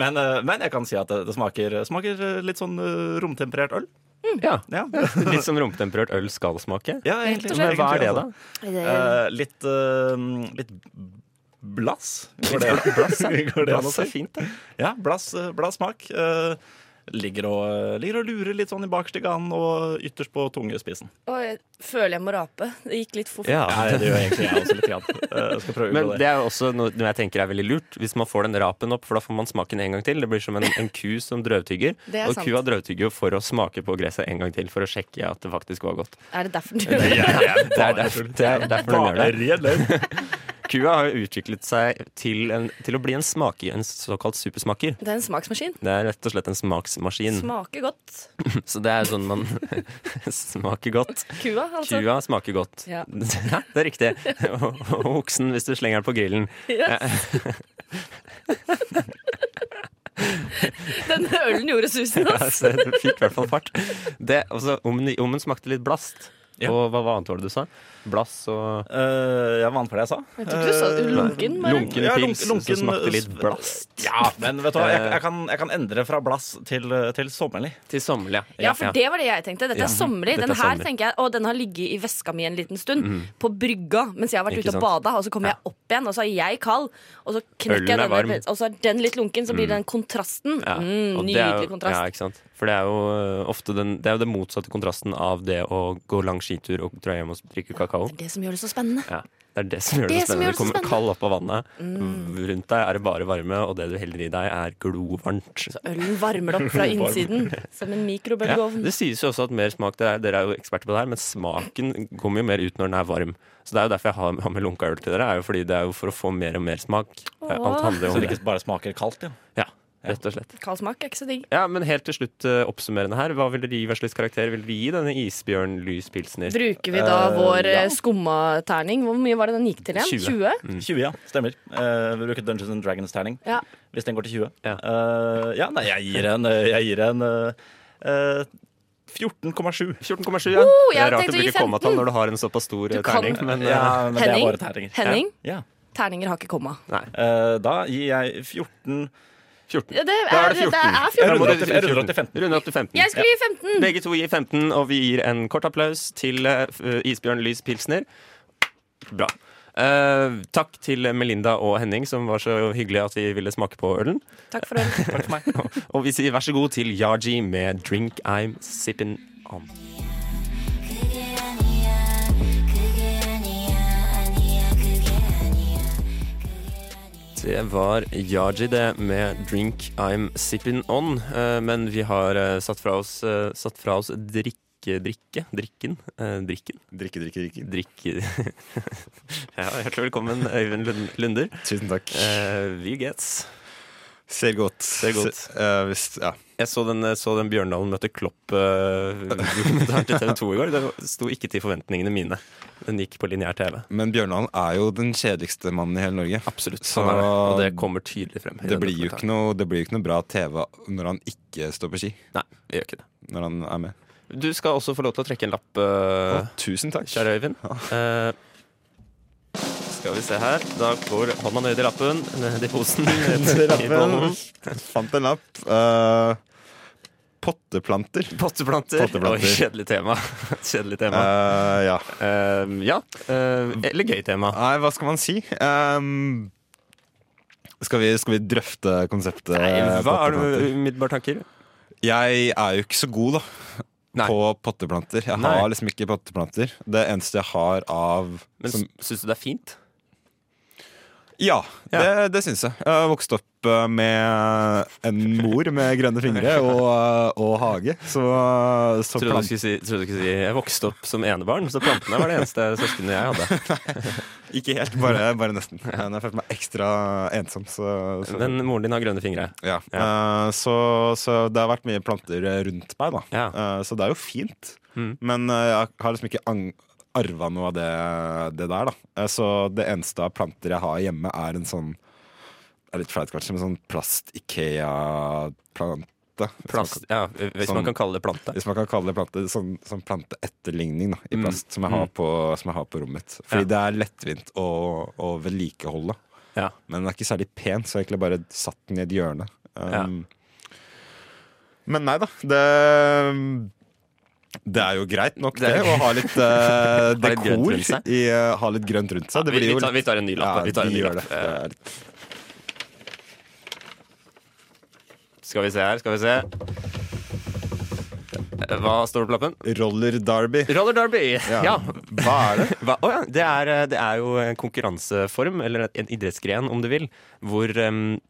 Speaker 5: men, eh, men jeg kan si at det, det smaker, smaker eh, litt sånn eh, romtemperert øl.
Speaker 3: ja.
Speaker 5: Ja,
Speaker 3: Litt som romtemperert øl skal smake.
Speaker 5: ja
Speaker 9: Rett og
Speaker 5: egentlig.
Speaker 9: slett.
Speaker 3: Men hva er det, da?
Speaker 5: Eh, litt, eh, litt blass. Går det, blass, ja. Går det an å
Speaker 3: Blass er
Speaker 5: si?
Speaker 3: fint, det.
Speaker 5: Ja, blass, eh, blass smak. Eh, ligger, og, ligger og lurer litt sånn i bakerste gann og ytterst på tungespissen.
Speaker 9: Og jeg føler jeg må rape. Det gikk litt fort.
Speaker 5: Ja, det gjør egentlig jeg også litt. Grann. Eh, jeg skal prøve å
Speaker 3: Men
Speaker 5: unngå
Speaker 3: det er jo også noe noe jeg tenker er veldig lurt. Hvis man får den rapen opp, for da får man smaken en gang til. Det blir som en, en ku som drøvtygger.
Speaker 6: Det er
Speaker 3: Og
Speaker 6: sant.
Speaker 3: kua drøvtygger jo for å smake på gresset en gang til, for å sjekke at det faktisk var godt.
Speaker 9: Er det derfor du gjør det?
Speaker 3: Det er derfor, det er derfor den gjør det. Kua har jo utviklet seg til, en, til å bli en smaker, en såkalt supersmaker.
Speaker 9: Det er en smaksmaskin.
Speaker 3: Det er rett og slett en smaksmaskin.
Speaker 9: Smaker godt.
Speaker 3: Så det er sånn man smaker godt.
Speaker 9: Kua, altså.
Speaker 3: Kua smaker godt.
Speaker 9: Ja.
Speaker 3: det er riktig. Og og oksen hvis du slenger den på grillen.
Speaker 9: Yes. Denne ølen gjorde susen,
Speaker 3: Ja, altså.
Speaker 9: ass.
Speaker 3: så det fikk i hvert fall fart. Det, altså, om, den- om den smakte litt blast Og hva, hva annet var det du sa? Blass og
Speaker 5: Eh, jeg vant for det jeg sa.
Speaker 9: Jeg tror du sa lunken, bare.
Speaker 3: lunken
Speaker 5: Ja,
Speaker 3: pils
Speaker 5: lunk- lunken-
Speaker 3: som smakte litt blast.
Speaker 5: Ja, men vet du hva, jeg, jeg, kan, jeg kan endre fra blass til, til sommerlig.
Speaker 3: Til sommerlig,
Speaker 9: Ja, for det var det jeg tenkte. Dette
Speaker 3: Ja.
Speaker 9: er sommerlig.
Speaker 3: Dette
Speaker 9: Den
Speaker 3: er
Speaker 9: her
Speaker 3: sommerlig.
Speaker 9: tenker jeg, å, den har ligget i veska mi en liten stund. På brygga mens jeg har vært
Speaker 3: Ikke
Speaker 9: ute og
Speaker 3: sant?
Speaker 9: bada. Og så kommer jeg opp igjen, og så er jeg kald. Og så
Speaker 3: Ølen
Speaker 9: knekker
Speaker 3: er
Speaker 9: jeg
Speaker 3: varm.
Speaker 9: den, og så er den litt lunken. Så blir det den kontrasten.
Speaker 3: Ja,
Speaker 9: Mm,
Speaker 3: og det er
Speaker 9: nydelig
Speaker 3: jo-
Speaker 9: kontrast.
Speaker 3: Ja, ikke sant? For det er jo øh, ofte den, det, er jo den motsatte kontrasten av det å gå lang skitur og dra hjem og drikke kakao.
Speaker 9: Det er det som gjør det så spennende.
Speaker 3: Ja. Det er det som gjør det,
Speaker 9: Det som gjør
Speaker 3: spennende.
Speaker 9: det
Speaker 3: du
Speaker 9: så
Speaker 3: kommer
Speaker 9: spennende. Mm.
Speaker 3: kald opp av vannet. Rundt deg er det bare varme, og det du heller i deg, er glovarmt.
Speaker 9: Ølen varmer det opp fra innsiden som en
Speaker 3: Ja,
Speaker 9: mikrobølgeovn.
Speaker 3: det sies jo også at mer smak dere er, dere er jo eksperter på det her, men smaken kommer jo mer ut når den er varm. Så det er jo derfor jeg har, har med lunka øl til dere, er jo fordi det er jo for å få mer og mer smak. Eh, Alt handler jo
Speaker 5: Så
Speaker 3: om
Speaker 5: det
Speaker 3: det.
Speaker 5: ikke bare smaker kaldt. Ja.
Speaker 3: Ja, rett og slett.
Speaker 9: Kald smak er ikke så digg.
Speaker 3: Ja, men helt til slutt eh, oppsummerende her, hva vil dere gi, hva slags karakter vil dere gi denne isbjørn lys pilsner?
Speaker 9: Bruker vi da
Speaker 5: Eh,
Speaker 9: vår
Speaker 5: ja.
Speaker 9: ja. skummaterning? Hvor mye var det den gikk til igjen?
Speaker 3: 20.
Speaker 9: 20?
Speaker 10: Mm.
Speaker 5: 20, ja. Stemmer. Eh, vi bruker Dungeons and Dragons-terning.
Speaker 9: Ja.
Speaker 5: Hvis den går til 20.
Speaker 3: Ja.
Speaker 5: Eh, ja nei, jeg gir en, jeg gir en eh, eh, 14,7.
Speaker 3: 14,7, ja.
Speaker 9: Oh, jeg
Speaker 3: det er
Speaker 9: tenkte
Speaker 3: rart
Speaker 9: å
Speaker 3: å
Speaker 9: gi
Speaker 3: bruke
Speaker 9: 15.
Speaker 3: kommatall når du har en såpass stor eh,
Speaker 9: kan-
Speaker 3: terning, men eh,
Speaker 5: Ja, men det er
Speaker 9: Henning?
Speaker 5: bare terninger.
Speaker 9: Henning,
Speaker 5: Ja.
Speaker 9: terninger har ikke komma.
Speaker 3: nei.
Speaker 5: Eh, da gir jeg 14
Speaker 3: 14.
Speaker 9: Ja, det er,
Speaker 3: Da er
Speaker 9: det
Speaker 3: det
Speaker 9: er
Speaker 3: 14.
Speaker 9: 14.
Speaker 5: Jeg
Speaker 3: Da må
Speaker 5: runder
Speaker 3: du-
Speaker 5: opp til- jeg runder opp til 15.
Speaker 3: Runder opp til 15.
Speaker 9: Jeg skulle gi 15!
Speaker 3: Begge to gir 15, og vi gir en kort applaus til eh, f- Isbjørn Lys Pilsner. Bra. Eh, takk til Melinda og Henning, som var så hyggelige at vi ville smake på ølen.
Speaker 9: Takk for øl.
Speaker 3: Og vi sier vær så god til Yaji med 'Drink I'm Sippin' On. Det var Yaji det med 'Drink I'm Sippin' On'. Eh, Men vi har eh, satt fra oss, eh, satt fra oss drikke, drikke, drikken, eh, drikken,
Speaker 10: Drikke, drikke, drikke.
Speaker 3: drikke. ja, hjertelig velkommen Øyvind Lund- Lunder.
Speaker 10: Tusen takk.
Speaker 3: Eh, vi gets.
Speaker 10: Ser godt.
Speaker 3: Ser godt.
Speaker 10: Se- eh, hvis, ja.
Speaker 3: Jeg så den, så den Bjørndalen møtte Klopp-dokumentaren til TV 2 i går. Det sto ikke til forventningene mine. Den gikk på lineær TV.
Speaker 10: Men Bjørndalen er jo den kjedeligste mannen i hele Norge.
Speaker 3: Absolutt.
Speaker 10: Så-
Speaker 3: Sånn er det. Og det kommer tydelig frem. i
Speaker 10: Det
Speaker 3: den
Speaker 10: blir jo
Speaker 3: dokumentaren.
Speaker 10: ikke noe, det blir jo ikke noe bra TV når han ikke står på ski.
Speaker 3: Nei, det gjør ikke det.
Speaker 10: Når han er med.
Speaker 3: Du skal også få lov til å trekke en lapp,
Speaker 10: Å,
Speaker 3: eh,
Speaker 10: tusen takk.
Speaker 3: kjære Øyvind. Eh, skal vi se her. Da går hånda ned i lappen. Ned i posen. Ned i bollen.
Speaker 10: Jeg Fant en lapp. Eh, potteplanter.
Speaker 3: Potteplanter.
Speaker 10: Potteplanter.
Speaker 3: Oi, kjedelig tema. Kjedelig tema.
Speaker 10: Eh, ja.
Speaker 3: Eh, ja. Eh, eller gøy tema.
Speaker 10: Nei, hva skal man si? Ehm, skal, vi, skal vi drøfte konseptet?
Speaker 3: Nei, hva er
Speaker 10: potteplanter?
Speaker 3: det umiddelbare tanker?
Speaker 10: Jeg er jo ikke så god da
Speaker 3: Nei.
Speaker 10: på potteplanter. Jeg
Speaker 3: Nei.
Speaker 10: har liksom ikke potteplanter. Det eneste jeg har av
Speaker 3: Men
Speaker 10: som,
Speaker 3: syns du det er fint?
Speaker 10: Ja,
Speaker 3: Ja.
Speaker 10: det, det syns jeg. Jeg har vokst opp eh, med en mor med grønne fingre og, eh, og hage. Så, så
Speaker 3: Trodde du
Speaker 10: plant,
Speaker 3: skulle si, trodde du skulle si Jeg vokste opp som enebarn, så plantene var det eneste søskenet jeg hadde.
Speaker 10: ikke helt, bare, bare nesten. Men jeg følte meg ekstra ensom. Så, så,
Speaker 3: Men moren din har grønne fingre.
Speaker 10: ja. Eh, så, så det har vært mye planter rundt meg, da.
Speaker 3: Ja.
Speaker 10: Eh, så det er jo fint.
Speaker 3: Mm.
Speaker 10: Men eh, jeg har liksom ikke ang arva noe av det, det der, da. Eh, så det eneste av planter jeg har hjemme, er en sånn det er litt flaut, kanskje, men sånn plast-Ikea-plante. Hvis man
Speaker 3: Plast, ja, hvis
Speaker 10: Sånn-
Speaker 3: man kan kalle det plante.
Speaker 10: hvis man kan kalle det plante, sånn, sånn planteetterligning da, i
Speaker 3: Mm.
Speaker 10: plast som, jeg har på, som jeg har på rommet mitt. Fordi det er lettvint å, å vedlikeholde.
Speaker 3: Ja.
Speaker 10: Men den er ikke særlig pen, så jeg har egentlig bare satt den i et hjørne. Um, Men nei da, det det er jo greit nok det,
Speaker 3: Det er-
Speaker 10: å ha litt eh,
Speaker 3: litt grønt
Speaker 10: dekor.
Speaker 3: rundt seg.
Speaker 10: i, eh, ha litt grønt rundt seg. Det
Speaker 3: Ja, vi-
Speaker 10: blir jo
Speaker 3: vi tar-
Speaker 10: litt-
Speaker 3: vi tar en ny lapp,
Speaker 10: Ja,
Speaker 3: vi tar en
Speaker 10: vi
Speaker 3: ny
Speaker 10: gjør
Speaker 3: lapp.
Speaker 10: det. Det er litt-
Speaker 3: Skal vi se her, skal vi se. Eh, Hva står det på lappen?
Speaker 10: Roller derby.
Speaker 3: Roller derby! Ja.
Speaker 10: Hva er det?
Speaker 3: Hva, å ja, det, er, eh, det er jo en konkurranseform, eller en idrettsgren om du vil, hvor em,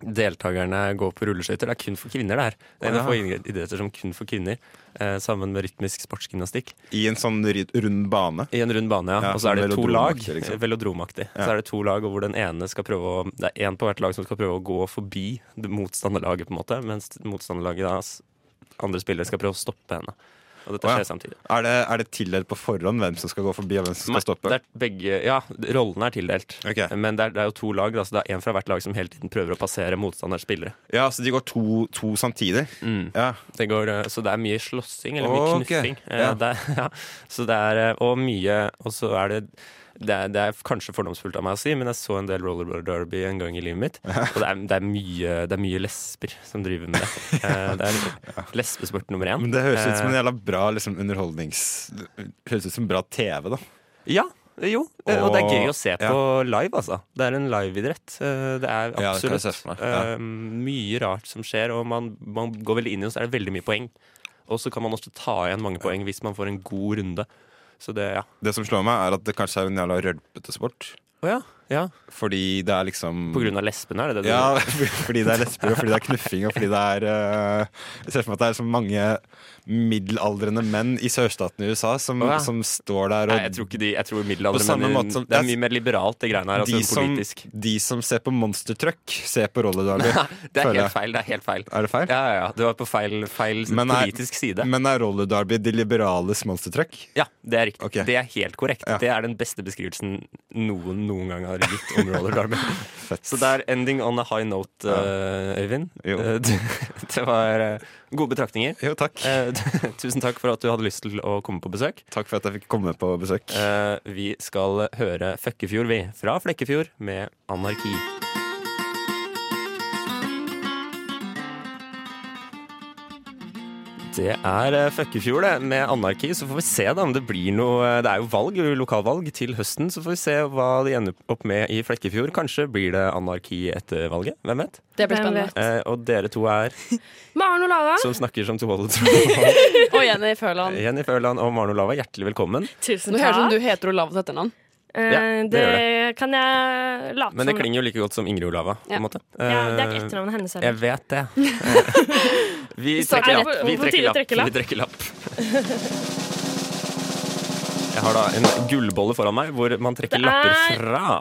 Speaker 3: deltakerne går på rulleskøyter. Det er kun for kvinner, det her. Det er en av få idretter som kun for kvinner, eh, sammen med rytmisk sportsgymnastikk.
Speaker 10: I en sånn ry- rund bane.
Speaker 3: I en rund bane, ja.
Speaker 10: Ja,
Speaker 3: og så er det to lag.
Speaker 10: velodromaktig, liksom.
Speaker 3: Velodromaktig. Så er det to lag, og hvor den ene skal prøve å Det er én på hvert lag som skal prøve å gå forbi det motstanderlaget, på en måte, mens motstanderlaget da s- andre spillere skal prøve å stoppe henne. Og dette
Speaker 10: Å, ja.
Speaker 3: skjer samtidig.
Speaker 10: Er det, er det tildelt på forhånd hvem som skal gå forbi, og hvem som skal stoppe?
Speaker 3: Det er begge, ja, rollene er tildelt.
Speaker 10: Ok.
Speaker 3: Men det er, det er jo to lag, da, så det er én fra hvert lag som hele tiden prøver å passere motstanders spillere.
Speaker 10: Ja, så de går to, to samtidig? Ja.
Speaker 3: Det går, eh, så det er mye slåssing, eller mye
Speaker 10: Ok,
Speaker 3: knuffing. Eh,
Speaker 10: ja.
Speaker 3: Det, er- ja. Så det er, eh, og mye Og så er det det er, det er kanskje fordomsfullt av meg å si, men jeg så en del roller derby en gang i livet mitt. Og det er, det er, mye, det er mye lesber som driver med det. Eh, Det er lesbesport nummer én.
Speaker 10: Men det høres ut som en
Speaker 3: Eh,
Speaker 10: jævla bra liksom, underholdnings... Høres ut som bra TV, da.
Speaker 3: Ja, jo. eh, Og det er
Speaker 10: Og-
Speaker 3: gøy å se på live, altså. Det er en liveidrett. Eh, Det
Speaker 10: Ja,
Speaker 3: er
Speaker 10: det kan jeg
Speaker 3: absolutt
Speaker 10: se for meg, ja.
Speaker 3: eh, mye rart som skjer, og man, man går veldig inn i det, og så er det veldig mye poeng. Og så kan man også ta igjen mange poeng hvis man får en god runde. Så det, ja.
Speaker 10: Det som slår meg, er at det kanskje er en jævla rølpete sport.
Speaker 3: Å ja. ja.
Speaker 10: Fordi det er liksom
Speaker 3: På grunn av lesbene, er det det du
Speaker 10: Ja, fordi det er lesber, og fordi det er knuffing, og fordi det er eh, Jeg ser for meg at det er så mange middelaldrende menn i sørstaten i USA som,
Speaker 3: Å, ja.
Speaker 10: som står der
Speaker 3: Nei,
Speaker 10: og
Speaker 3: jeg tror ikke de Jeg tror
Speaker 10: På
Speaker 3: middelaldrende
Speaker 10: samme
Speaker 3: menn
Speaker 10: måte som-
Speaker 3: Det er mye mer liberalt, det greiene her. Altså
Speaker 10: de, som,
Speaker 3: politisk.
Speaker 10: de som ser på Monster Truck, ser på Roller Derby.
Speaker 3: Det er
Speaker 10: føler
Speaker 3: helt
Speaker 10: jeg.
Speaker 3: feil. Det er helt feil.
Speaker 10: Er det feil?
Speaker 3: Ja, ja, ja. Du var på feil, feil
Speaker 10: Men er-
Speaker 3: politisk side.
Speaker 10: Men er Roller Derby de liberales Monster Truck?
Speaker 3: Ja, det er riktig.
Speaker 10: Ok.
Speaker 3: Det er helt korrekt.
Speaker 10: Ja.
Speaker 3: Det er den beste beskrivelsen noen noen gang har gitt om roller derby. Så det er ending on a high note, eh, Øyvind.
Speaker 10: Jo.
Speaker 3: Eh, Det, det var eh, gode betraktninger.
Speaker 10: Jo, takk.
Speaker 3: Eh, Tusen takk for at du hadde lyst til å komme på besøk.
Speaker 10: Takk for at jeg fikk komme på besøk.
Speaker 3: Eh, Vi skal høre Føkkefjord, vi. Fra Flekkefjord med Anarki. Det er eh, Føkkefjord det, med anarki, så får vi se da om det blir noe eh, Det er jo valg, lokalvalg til høsten, så får vi se hva de ender opp med i Flekkefjord. Kanskje blir det anarki etter valget, hvem vet?
Speaker 9: Det blir
Speaker 6: Hvem
Speaker 9: spennende.
Speaker 6: vet?
Speaker 3: Eh, og dere to er
Speaker 6: Maren Olava.
Speaker 3: som snakker som to holdet.
Speaker 9: Og Jenny Føland.
Speaker 3: Jenny Førland og Maren Olava, hjertelig velkommen.
Speaker 9: Tusen
Speaker 6: Nå høres det ut som
Speaker 9: takk.
Speaker 6: du heter Olav til etternavn.
Speaker 9: sånn Eh,
Speaker 3: Ja, det
Speaker 9: det, kan jeg late
Speaker 3: Men det
Speaker 9: som.
Speaker 3: klinger jo like godt som Ingrid Olava, på en måte.
Speaker 9: Ja, det er
Speaker 3: Eh,
Speaker 9: ikke etternavnet hennes heller.
Speaker 3: Jeg vet det. Vi
Speaker 9: Så er
Speaker 3: trekker
Speaker 9: det
Speaker 3: lapp.
Speaker 9: på-
Speaker 3: Vi
Speaker 9: på tide å
Speaker 3: trekker
Speaker 9: trekke lapp.
Speaker 3: lapp. Vi trekker lapp. Jeg har da en gullbolle foran meg hvor man trekker
Speaker 9: Det er-
Speaker 3: lapper fra.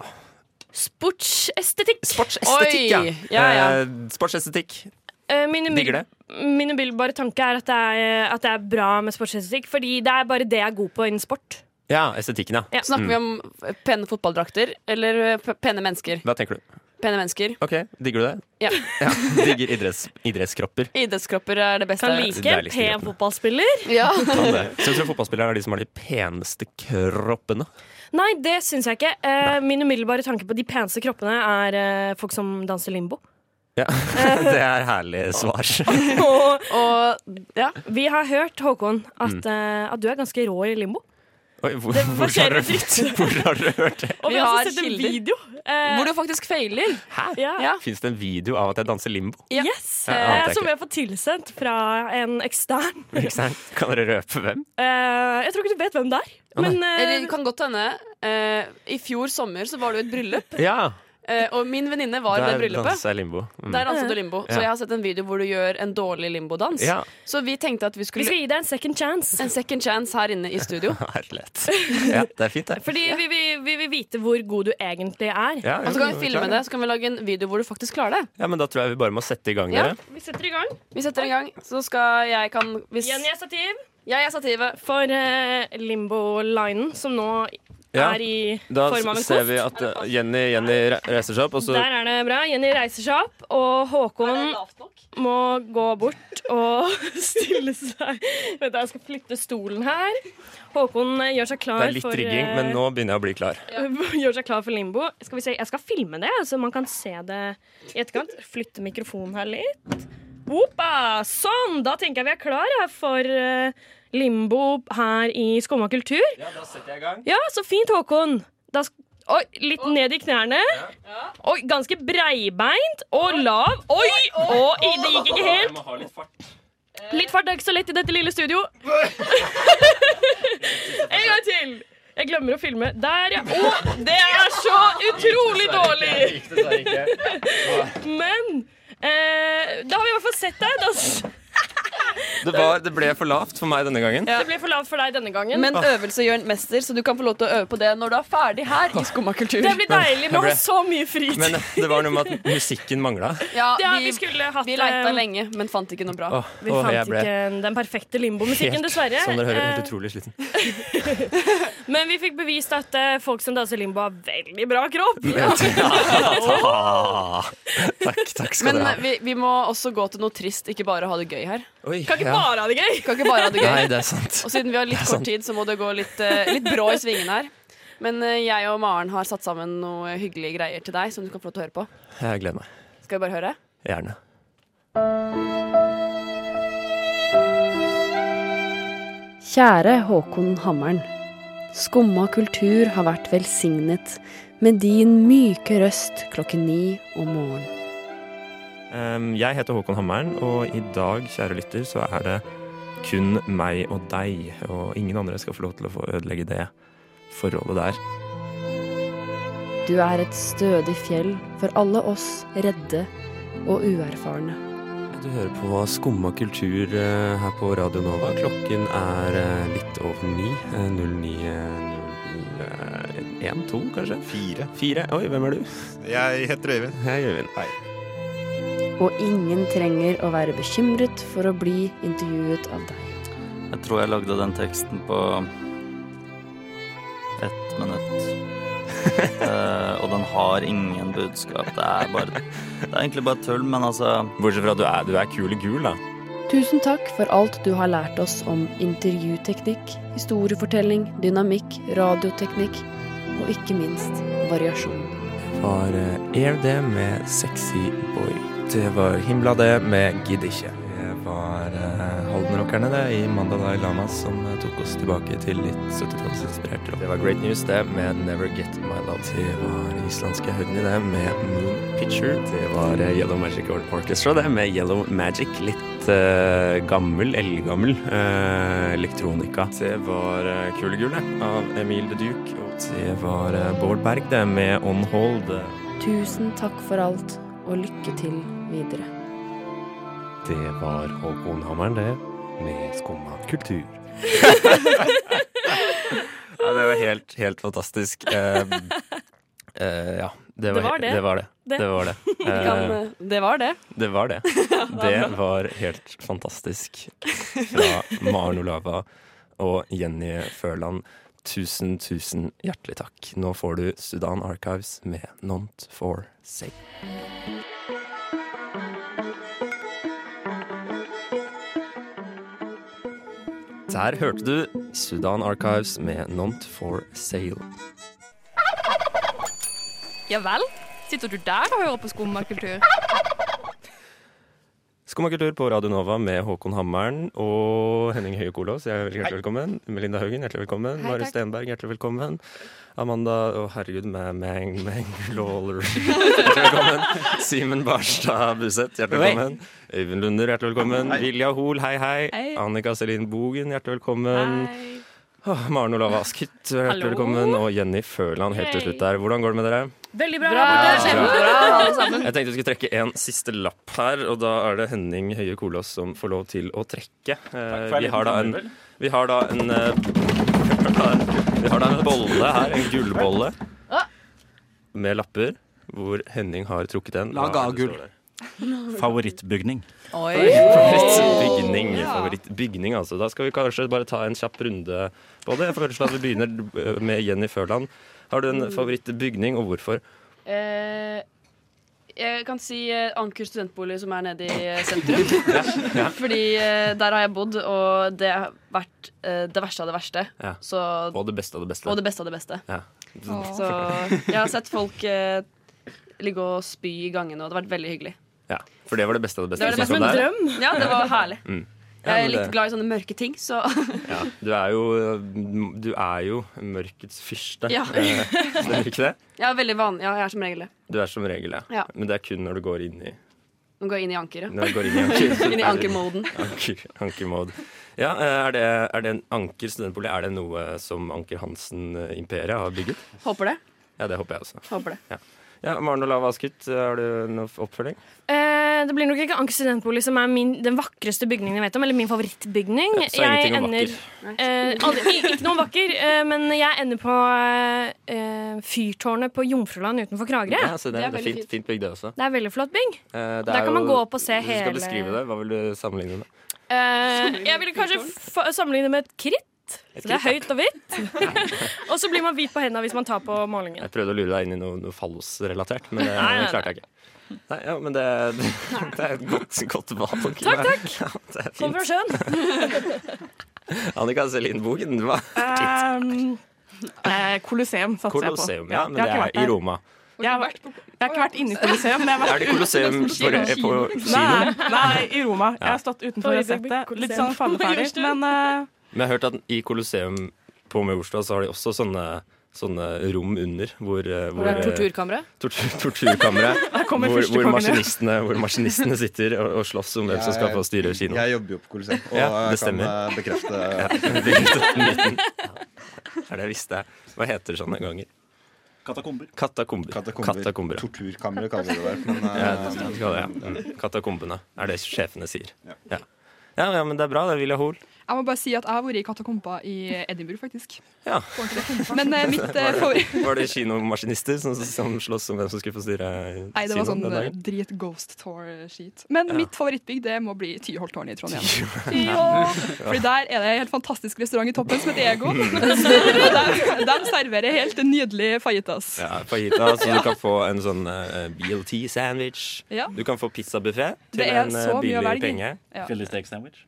Speaker 9: Sportsestetikk.
Speaker 3: Sportsestetikk,
Speaker 6: Oi, ja, ja.
Speaker 3: Eh, sportsestetikk.
Speaker 11: Eh, min
Speaker 7: Digger det.
Speaker 11: umiddelbare- Min umiddelbare tanke er at det er, at det er bra med sportsestetikk, fordi det er bare det jeg er god på innen sport.
Speaker 3: Ja, estetikken, ja.
Speaker 9: Snakker
Speaker 3: Mm.
Speaker 9: vi om pene fotballdrakter eller eh, p- pene mennesker?
Speaker 3: Hva tenker du?
Speaker 9: Pene mennesker.
Speaker 3: OK, digger du det?
Speaker 9: Ja.
Speaker 3: Ja, Digger idretts, idrettskropper.
Speaker 9: Idrettskropper er det beste.
Speaker 3: Kan like Det er liksom pen kroppen.
Speaker 11: fotballspiller.
Speaker 9: Ja.
Speaker 3: Ta det. Så jeg tror fotballspillere er de som har de peneste kroppene.
Speaker 11: Nei, det syns jeg ikke. Eh, min umiddelbare tanke på de peneste kroppene er eh, folk som danser limbo.
Speaker 3: Ja,
Speaker 9: Eh.
Speaker 3: Det er herlig svar.
Speaker 11: og vi har hørt, Håkon, at,
Speaker 3: Mm.
Speaker 11: eh, at du er ganske rå i limbo.
Speaker 3: Oi, hvor,
Speaker 11: Det
Speaker 3: hvor,
Speaker 11: forskjellig
Speaker 3: har du,
Speaker 11: dritt.
Speaker 3: hvor har du hørt det?
Speaker 11: Og vi,
Speaker 9: Vi
Speaker 11: har
Speaker 9: har
Speaker 11: også sett en
Speaker 9: kilder.
Speaker 11: video. eh,
Speaker 9: Hvor du faktisk feiler.
Speaker 3: Hæ? Fins det en video av at jeg danser limbo?
Speaker 11: Yes,
Speaker 3: Ja, ante
Speaker 11: eh,
Speaker 3: jeg
Speaker 11: Som vi
Speaker 3: ikke.
Speaker 11: har fått tilsendt fra en ekstern.
Speaker 3: Ikke sant? Kan dere røpe hvem?
Speaker 11: Eh, jeg tror ikke du vet hvem det er.
Speaker 3: Å, nei.
Speaker 11: Men
Speaker 9: Eller det kan godt hende. eh, I fjor sommer så var det jo et bryllup,
Speaker 3: Ja,
Speaker 9: eh, og min venninne var i det
Speaker 3: der
Speaker 9: bryllupet.
Speaker 3: danser jeg limbo. Mm.
Speaker 9: Der danset du limbo. Så
Speaker 3: Ja.
Speaker 9: jeg har sett en video hvor du gjør en dårlig limbodans.
Speaker 3: Ja.
Speaker 9: Så vi tenkte at vi skulle
Speaker 11: Vi skal gi deg en second chance.
Speaker 9: En second chance her inne i studio.
Speaker 3: Herlighet. Ja, det er fint, det.
Speaker 11: Fordi vi, vi, vi vil vite hvor god du egentlig er.
Speaker 3: Ja,
Speaker 9: og så kan vi
Speaker 3: vi klarer
Speaker 9: filme
Speaker 3: det.
Speaker 9: det, så kan vi lage en video hvor du faktisk klarer det.
Speaker 3: Ja, men Da tror jeg vi bare må sette i gang,
Speaker 9: Ja.
Speaker 3: dere.
Speaker 11: Vi setter i gang.
Speaker 9: Vi setter i gang, så skal jeg kan hvis,
Speaker 11: Jenny er stativ
Speaker 9: Jeg er stativet.
Speaker 11: for eh, limbo-linen, som nå
Speaker 3: Ja.
Speaker 11: er i
Speaker 3: Da
Speaker 11: form av en
Speaker 3: ser
Speaker 11: kost.
Speaker 3: vi at eh, Jenny, Jenny re- reiser seg opp, og så
Speaker 11: Der er det bra. Jenny reiser seg opp, og Håkon må gå bort og stille seg Vent, da, jeg skal flytte stolen her. Håkon eh, gjør seg klar
Speaker 3: Det er litt
Speaker 11: for
Speaker 3: rigging,
Speaker 11: eh,
Speaker 3: men nå begynner jeg å bli klar.
Speaker 11: Gjør seg klar for limbo. Skal vi se, jeg skal filme det, så man kan se det i etterkant. Flytte mikrofonen her litt. Opa! Sånn! Da tenker jeg vi er klar jeg, for eh, limbo her i Skumma kultur.
Speaker 3: Ja, da setter jeg i gang.
Speaker 11: Ja, så fint, Håkon. Da sk Oi, litt ned i knærne. Oi, ganske breibeint og lav. Oi! Og i- det gikk ikke helt.
Speaker 3: ha litt fart.
Speaker 11: Litt fart er ikke så lett i dette lille studio. En gang til. Jeg glemmer å filme. Der, ja. Å, det er så utrolig dårlig!
Speaker 3: Dessverre ikke.
Speaker 11: Men eh, da har vi i hvert fall sett deg. Da.
Speaker 3: Det, var, det ble for lavt for meg denne gangen.
Speaker 11: Det ble for lavt for deg denne gangen.
Speaker 3: Ah.
Speaker 9: Men øvelse gjør en mester, så du kan få lov til å øve på det når du er ferdig her i Skumma kultur.
Speaker 11: det blir deilig med å
Speaker 3: ble-
Speaker 11: ha så mye fritid.
Speaker 3: Men det var noe med at musikken mangla.
Speaker 9: Ja,
Speaker 11: ja, vi,
Speaker 9: vi,
Speaker 11: skulle hatt
Speaker 9: vi
Speaker 11: eh,
Speaker 9: leita lenge, men fant ikke noe bra.
Speaker 3: Åh,
Speaker 11: Vi
Speaker 3: åh,
Speaker 11: fant
Speaker 3: jeg ble
Speaker 11: ikke den perfekte limbomusikken,
Speaker 3: helt,
Speaker 11: dessverre.
Speaker 3: som dere hører, helt
Speaker 11: Eh,
Speaker 3: utrolig sliten.
Speaker 11: Men vi fikk bevist at eh, folk som danser limbo, har veldig bra kropp.
Speaker 3: Ah, takk, takk skal
Speaker 9: Men
Speaker 11: eh,
Speaker 9: eh,
Speaker 3: dere ha.
Speaker 9: vi, vi må også gå til noe trist, ikke bare ha det gøy her.
Speaker 3: Oi,
Speaker 11: Kan ikke
Speaker 3: ja.
Speaker 11: bare ha det gøy.
Speaker 9: Kan ikke bare ha det gøy.
Speaker 3: Nei, det er sant.
Speaker 9: Og siden vi har litt kort tid, så må det gå litt, eh, litt brå i svingen her. Men eh, jeg og Maren har satt sammen noe hyggelige greier til deg som du kan få lov til å høre på.
Speaker 3: Jeg gleder meg.
Speaker 9: Skal vi bare høre?
Speaker 3: Gjerne.
Speaker 12: Kjære Håkon Hammeren. Skumma kultur har vært velsignet med din myke røst klokken ni om morgenen.
Speaker 3: Um, jeg heter Håkon Hammeren, og i dag, kjære lytter, så er det kun meg og deg. Og ingen andre skal få lov til å få ødelegge det forholdet der.
Speaker 12: Du er et stødig fjell for alle oss redde og uerfarne.
Speaker 3: Du hører på Skumma kultur eh, her på Radio Nova. Klokken er eh, litt over ni. Eh, 09.01, 2 kanskje?
Speaker 10: Fire.
Speaker 3: Fire. Oi, hvem er du?
Speaker 10: Jeg heter Øyvind.
Speaker 3: Hei, Øyvind.
Speaker 10: Hei.
Speaker 12: Og ingen trenger å være bekymret for å bli intervjuet av deg.
Speaker 13: Jeg tror jeg lagde den teksten på ett minutt. Eh, og den har ingen budskap. Det er, bare, det er egentlig bare tull, men altså
Speaker 3: Bortsett fra at du er, du er kul i gul, da.
Speaker 12: Tusen takk for alt du har lært oss om intervjuteknikk, historiefortelling, dynamikk, radioteknikk og ikke minst variasjon.
Speaker 3: var eh, Air det med Sexy Boy. Det var Himla det med Gidd ikke. Det var eh, Halden-rockerne det i Mandalay Lamas som eh, tok oss tilbake til litt 70-tallsinspirert rock. Det var Great News det med Never Get My Love. Det var islandske Høgni det med Moon Picture. Det var eh, Yellow Magic Or- Orchestra det med Yellow Magic. Litt eh, gammel, eldgammel eh, elektronika. Det var eh, Kulegull det av Emil de Duke. Og det var eh, Bård Berg det med On Hold. Det
Speaker 12: Tusen takk for alt, og lykke til videre.
Speaker 3: Det var Håkon Hammeren, det, med Skumma kultur. ja, det var helt, helt fantastisk. Eh, eh, ja. Det var he- det var det. Det var det.
Speaker 12: Vi kan,
Speaker 3: Eh,
Speaker 12: det var det.
Speaker 3: Det var det. Det var helt fantastisk. Fra Maren Olava og Jenny Førland. Tusen, tusen hjertelig takk. Nå får du Sudan Archives med Not for Sale. Der hørte du Sudan Archives med Not for Sale.
Speaker 14: Ja vel? Sitter du der og hører på skummakultur?
Speaker 3: Skomakultur på Radio Nova med Håkon Hammeren og Henning Høie Kolås. Jeg er veldig hjertelig velkommen. Melinda Haugen, hjertelig velkommen.
Speaker 15: Hei,
Speaker 3: Mari
Speaker 15: takk.
Speaker 3: Stenberg, hjertelig velkommen. Amanda Å, herregud, med Mang Mang Lawler. Hjertelig velkommen. Simen Barstad Buseth, hjertelig
Speaker 15: Oi.
Speaker 3: velkommen. Øyvind Lunder, hjertelig velkommen. Vilja Hoel, hei, hei.
Speaker 15: Hei.
Speaker 3: Annika Celine Bogen, hjertelig velkommen. Åh, Maren Olav Askhytt, hjertelig
Speaker 11: Hallo.
Speaker 3: velkommen. Og Jenny Førland, helt til
Speaker 11: Hei.
Speaker 3: slutt der. Hvordan går det med dere?
Speaker 11: Veldig bra.
Speaker 3: Jeg tenkte vi skulle trekke en siste lapp her, og da er det Henning Høie Kolås som får lov til å trekke. Eh,
Speaker 15: for en
Speaker 3: vi, har da
Speaker 15: liten
Speaker 3: en,
Speaker 15: jubel.
Speaker 3: vi har da en eh, Vi har da en bolle her, en gullbolle med lapper, hvor Henning har trukket en.
Speaker 9: Lag
Speaker 3: Hva er
Speaker 9: av
Speaker 3: det som
Speaker 9: gull.
Speaker 3: står der?
Speaker 9: Favorittbygning.
Speaker 15: Oi.
Speaker 3: Favorittbygning.
Speaker 15: Ja.
Speaker 3: Favorittbygning, altså. Da skal vi kanskje bare ta en kjapp runde på det. Jeg foreslår at vi begynner eh, med Jenny Førland. Har du en favorittbygning, og hvorfor?
Speaker 12: Eh, jeg kan si eh, Anker studentbolig, som er nede i eh, sentrum. Fordi eh, der har jeg bodd, og det har vært eh, det verste av det verste.
Speaker 3: Ja.
Speaker 12: Så,
Speaker 3: Og det beste av det beste.
Speaker 12: og det beste av det beste.
Speaker 3: Ja.
Speaker 12: Så jeg har sett folk eh, ligge og spy i gangene, og det har vært veldig hyggelig.
Speaker 3: Ja, for det var det beste av det beste.
Speaker 12: Det var det
Speaker 3: som
Speaker 12: beste
Speaker 3: kom
Speaker 12: med
Speaker 3: der.
Speaker 12: drøm. Ja, det var herlig.
Speaker 3: Mm. Ja,
Speaker 12: Jeg er
Speaker 3: men
Speaker 12: litt
Speaker 3: det-
Speaker 12: glad i sånne mørke ting, så
Speaker 3: Ja, du er jo, du er jo mørkets fyrste.
Speaker 12: Ja.
Speaker 3: Eh, Stemmer ikke det?
Speaker 12: jeg er veldig vanlig. Ja, jeg er som regel det.
Speaker 3: Du er som regel det.
Speaker 12: Ja.
Speaker 3: Men det er kun når du går inn i
Speaker 12: Nå går jeg inn i ankeret.
Speaker 3: Når du går inn i anker.
Speaker 12: Inn i ankermoden.
Speaker 3: Anker, ankermode. Ja, eh, er det, er det en Anker studentbolig er det noe som Anker Hansen-imperiet har bygget?
Speaker 12: Håper det.
Speaker 3: Ja, det håper jeg også.
Speaker 12: Håper det.
Speaker 3: Ja, ja Maren Olav Askut, har du noe oppfølging?
Speaker 11: Eh, det blir nok ikke Anker studentbolig som er min, den vakreste bygningen jeg vet om, eller min favorittbygning.
Speaker 3: Så ingenting om vakker.
Speaker 11: Eh, aldri, i- ikke noe vakker, eh, men jeg ender på eh, Fyrtårnet på Jomfruland utenfor Kragerø.
Speaker 3: Ja, så det, det er fint, fint bygd, det også.
Speaker 11: Det er veldig flott bygg.
Speaker 3: Eh, det
Speaker 11: Der
Speaker 3: er
Speaker 11: kan man
Speaker 3: jo-
Speaker 11: gå opp og se
Speaker 3: Hvis Du skal
Speaker 11: hele-
Speaker 3: beskrive det. Hva vil du sammenligne med?
Speaker 11: Eh, jeg ville kanskje fa- sammenligne med et kritt.
Speaker 3: Et
Speaker 11: Så det er
Speaker 3: kritt,
Speaker 11: høyt og hvitt. og så blir man hvit på hendene hvis man tar på målingen.
Speaker 3: Jeg prøvde å lure deg inn i noe, noe fallosrelatert, men det
Speaker 11: Nei, nei, nei.
Speaker 3: klarte jeg ikke. Nei, ja, men det, det er et godt, godt valg.
Speaker 11: Takk, takk.
Speaker 3: Ja, det er
Speaker 11: Kom fra
Speaker 3: fint.
Speaker 11: sjøen.
Speaker 3: Annika Celine Bogen, hva?
Speaker 16: Um, eh, Colosseum satser jeg
Speaker 3: Colosseum,
Speaker 16: på.
Speaker 3: ja, men
Speaker 16: jeg har
Speaker 3: det
Speaker 16: ikke vært
Speaker 3: er i
Speaker 16: der.
Speaker 3: Roma.
Speaker 16: Jeg har, vært- jeg har ikke vært inne i Colosseum. men jeg har vært
Speaker 3: Er det
Speaker 16: ute-
Speaker 3: Colosseum på, på
Speaker 16: Nei,
Speaker 3: kino?
Speaker 16: nei, i Roma. Jeg har stått utenfor
Speaker 11: Oi,
Speaker 16: og sett
Speaker 11: det
Speaker 16: det.
Speaker 11: blir
Speaker 16: Litt
Speaker 11: Colosseum.
Speaker 16: sånn falleferdig, men eh,
Speaker 3: Men jeg har hørt at i Colosseum på Majorstua så har de også sånne, sånne rom under hvor, eh, hvor eh,
Speaker 12: Torturkamre?
Speaker 3: Tortur, torturkamre.
Speaker 12: Der kommer
Speaker 3: hvor, hvor,
Speaker 12: førstekongen.
Speaker 3: maskinistene, hvor maskinistene sitter og, og slåss om hvem som skal få styre kinoet.
Speaker 10: Jeg jobber jo på Colosseum, og
Speaker 3: Ja, det
Speaker 10: jeg kan
Speaker 3: stemmer.
Speaker 10: eh, bekrefte
Speaker 3: Ja, bekrefte den myten. Det er det jeg visste. Hva heter det sånne ganger?
Speaker 10: Katakomber.
Speaker 3: Katakomber.
Speaker 10: Katakomber.
Speaker 3: Katakomber, ja.
Speaker 10: Torturkamre kaller vi det der. Men, eh,
Speaker 3: Ja, det skal det, ja. Mm. Katakombene er det sjefene sier. Ja. Ja. Ja, men det er bra. Det er Vilja Hoel.
Speaker 4: Jeg må bare si at jeg har vært i katakomba i Edinburgh, faktisk.
Speaker 3: Ja.
Speaker 4: Men eh, mitt eh,
Speaker 3: Var det,
Speaker 4: favoritt
Speaker 3: var det kinomaskinister som, som sloss om hvem som skulle få styre kinoen?
Speaker 4: Nei, det var sånn
Speaker 3: den
Speaker 4: eh,
Speaker 3: dagen?
Speaker 4: drit ghost tour-skit. Men
Speaker 3: Ja.
Speaker 4: mitt favorittbygg det må bli Tyholttårnet i Trondheim.
Speaker 3: Ja.
Speaker 4: Ja. Fordi der er det en helt fantastisk restaurant i toppen som heter Ego.
Speaker 3: Mm.
Speaker 4: Og De serverer helt nydelig
Speaker 11: eh,
Speaker 4: fajitas.
Speaker 3: Ja, fajita, så du kan få en sånn eh, BLT-sandwich.
Speaker 4: Ja.
Speaker 3: Du kan få pizzabuffé til
Speaker 11: Det er
Speaker 3: en eh,
Speaker 11: så mye å velge
Speaker 3: billig
Speaker 11: i.
Speaker 3: penge.
Speaker 11: Ja.
Speaker 9: Fillesteak-sandwich?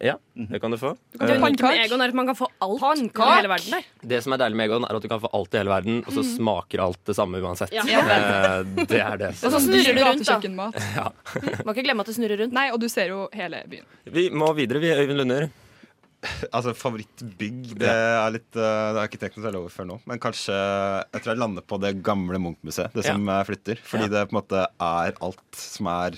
Speaker 3: Ja, det kan du få.
Speaker 11: Det
Speaker 3: Eh,
Speaker 11: unike med Egon er at man kan få alt i hele verden der.
Speaker 3: Det som er deilig med Egon, er at du kan få alt i hele verden, og så
Speaker 11: Mhm.
Speaker 3: smaker alt det samme uansett.
Speaker 12: Ja.
Speaker 3: Eh, Det er det.
Speaker 12: Og så snurrer du rundt, da.
Speaker 4: Kjøkkenmat.
Speaker 3: Ja.
Speaker 12: Må ikke glemme at du snurrer rundt.
Speaker 4: Nei, og du ser jo hele byen.
Speaker 3: Vi må videre, vi, Øyvind Lunder.
Speaker 10: Altså favorittbygg Det er litt eh, Det har jeg ikke tenkt noe særlig over før nå. Men kanskje jeg tror jeg lander på det gamle Munch-museet. Det som eh, flytter. Fordi det på en måte er alt som er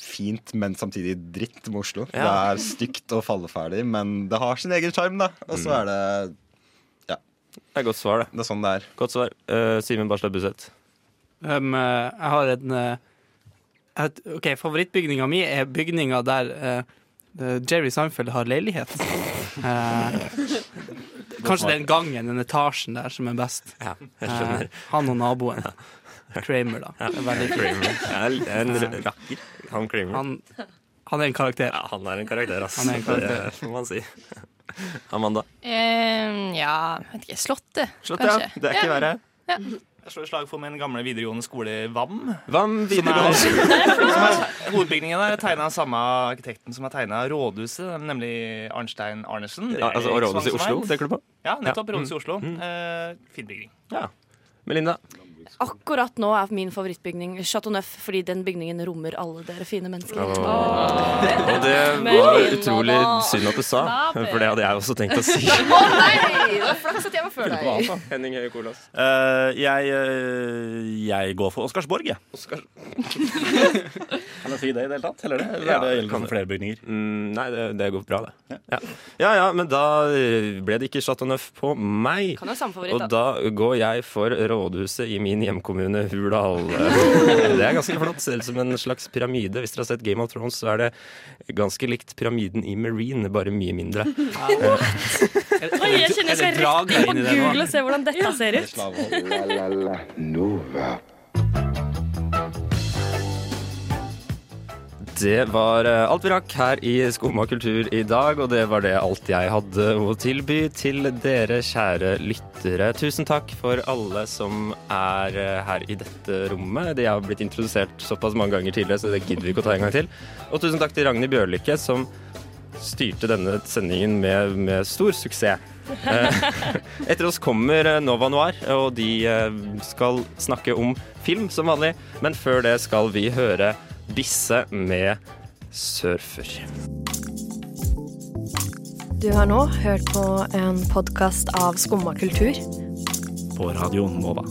Speaker 10: fint, men samtidig dritt med Oslo.
Speaker 3: Ja.
Speaker 10: Det er stygt og falleferdig, men det har sin egen sjarm, da. Og så
Speaker 3: Mm.
Speaker 10: er det Ja.
Speaker 3: Det er godt svar, det.
Speaker 10: Det er sånn det er.
Speaker 3: Godt svar. Eh, Simen Barstad Buseth.
Speaker 15: Um, eh, jeg har en eh, jeg har et, OK, favorittbygninga mi er bygninga der eh, eh, Jerry Seinfeld har leilighet. Eh, kanskje det er en gangen, den etasjen der, som er best.
Speaker 3: jeg skjønner.
Speaker 15: Eh, han og naboen. Kramer, da.
Speaker 3: Ja.
Speaker 15: Det er veldig-
Speaker 3: Kramer. Ja, en r- rakker. Han Kramer.
Speaker 15: Han, han er en karakter.
Speaker 3: Ja, han er en karakter, ass.
Speaker 15: Han er en karakter.
Speaker 3: Det må man si. Amanda.
Speaker 6: Eh, ja, vet ikke. Slottet,
Speaker 7: Slottet, ja.
Speaker 6: kanskje.
Speaker 7: Det er ikke verre.
Speaker 6: Ja.
Speaker 7: Jeg slår et slag for min gamle videregående skole Vam.
Speaker 3: Vam
Speaker 7: Som
Speaker 3: videregående
Speaker 7: er, som er, hovedbygningen der er tegna av samme arkitekten som har tegna rådhuset, nemlig Arnstein Arnesen.
Speaker 3: Ja, altså, og rådhuset i Oslo, tenker du på?
Speaker 7: Ja, nettopp.
Speaker 3: Ja. Mm.
Speaker 7: Rådhuset i Oslo. Eh, fin bygning.
Speaker 3: Melinda.
Speaker 17: Akkurat nå er min favorittbygning Chateau Neuf, fordi den bygningen rommer alle dere fine mennesker.
Speaker 3: Og det var utrolig synd at du sa, for det hadde jeg også tenkt å si.
Speaker 6: nei! Det var flaks at jeg var før deg.
Speaker 3: Henning Høie Kolas.
Speaker 5: Eh, jeg, eh, jeg går for Oscarsborg, jeg. kan jeg si det i det hele tatt? Eller, det? eller er det gjelder det for flere bygninger?
Speaker 3: Mm, nei, det, det går bra, det. Ja. ja ja, men da eh, ble det ikke Chateau Neuf på meg.
Speaker 17: Kan jo samme favoritt,
Speaker 3: Og
Speaker 17: da.
Speaker 3: da går jeg for rådhuset i min hjemkommune Hurdal. Det er ganske flott. Ser ut som en slags pyramide. Hvis dere har sett Game of Thrones, så er det ganske likt pyramiden i Marine, bare mye mindre.
Speaker 11: Oi, jeg kjenner jeg skal rett inn på Google og se hvordan dette ser ut.
Speaker 2: La-la-la Nova.
Speaker 3: Det var eh, alt vi rakk her i Skumma kultur i dag, og det var det alt jeg hadde å tilby til dere kjære lyttere. Tusen takk for alle som er eh, her i dette rommet. De har blitt introdusert såpass mange ganger tidligere, så det gidder vi ikke å ta en gang til. Og tusen takk til Ragnhild Bjørlykke, som styrte denne sendingen med, med stor suksess. Eh, Etter oss kommer eh, Nova Noir, og de eh, skal snakke om film som vanlig. Men før det skal vi høre Bisse med Surfer.
Speaker 18: Du har nå hørt på en podkast av Skumma kultur.
Speaker 5: På radioen Nova.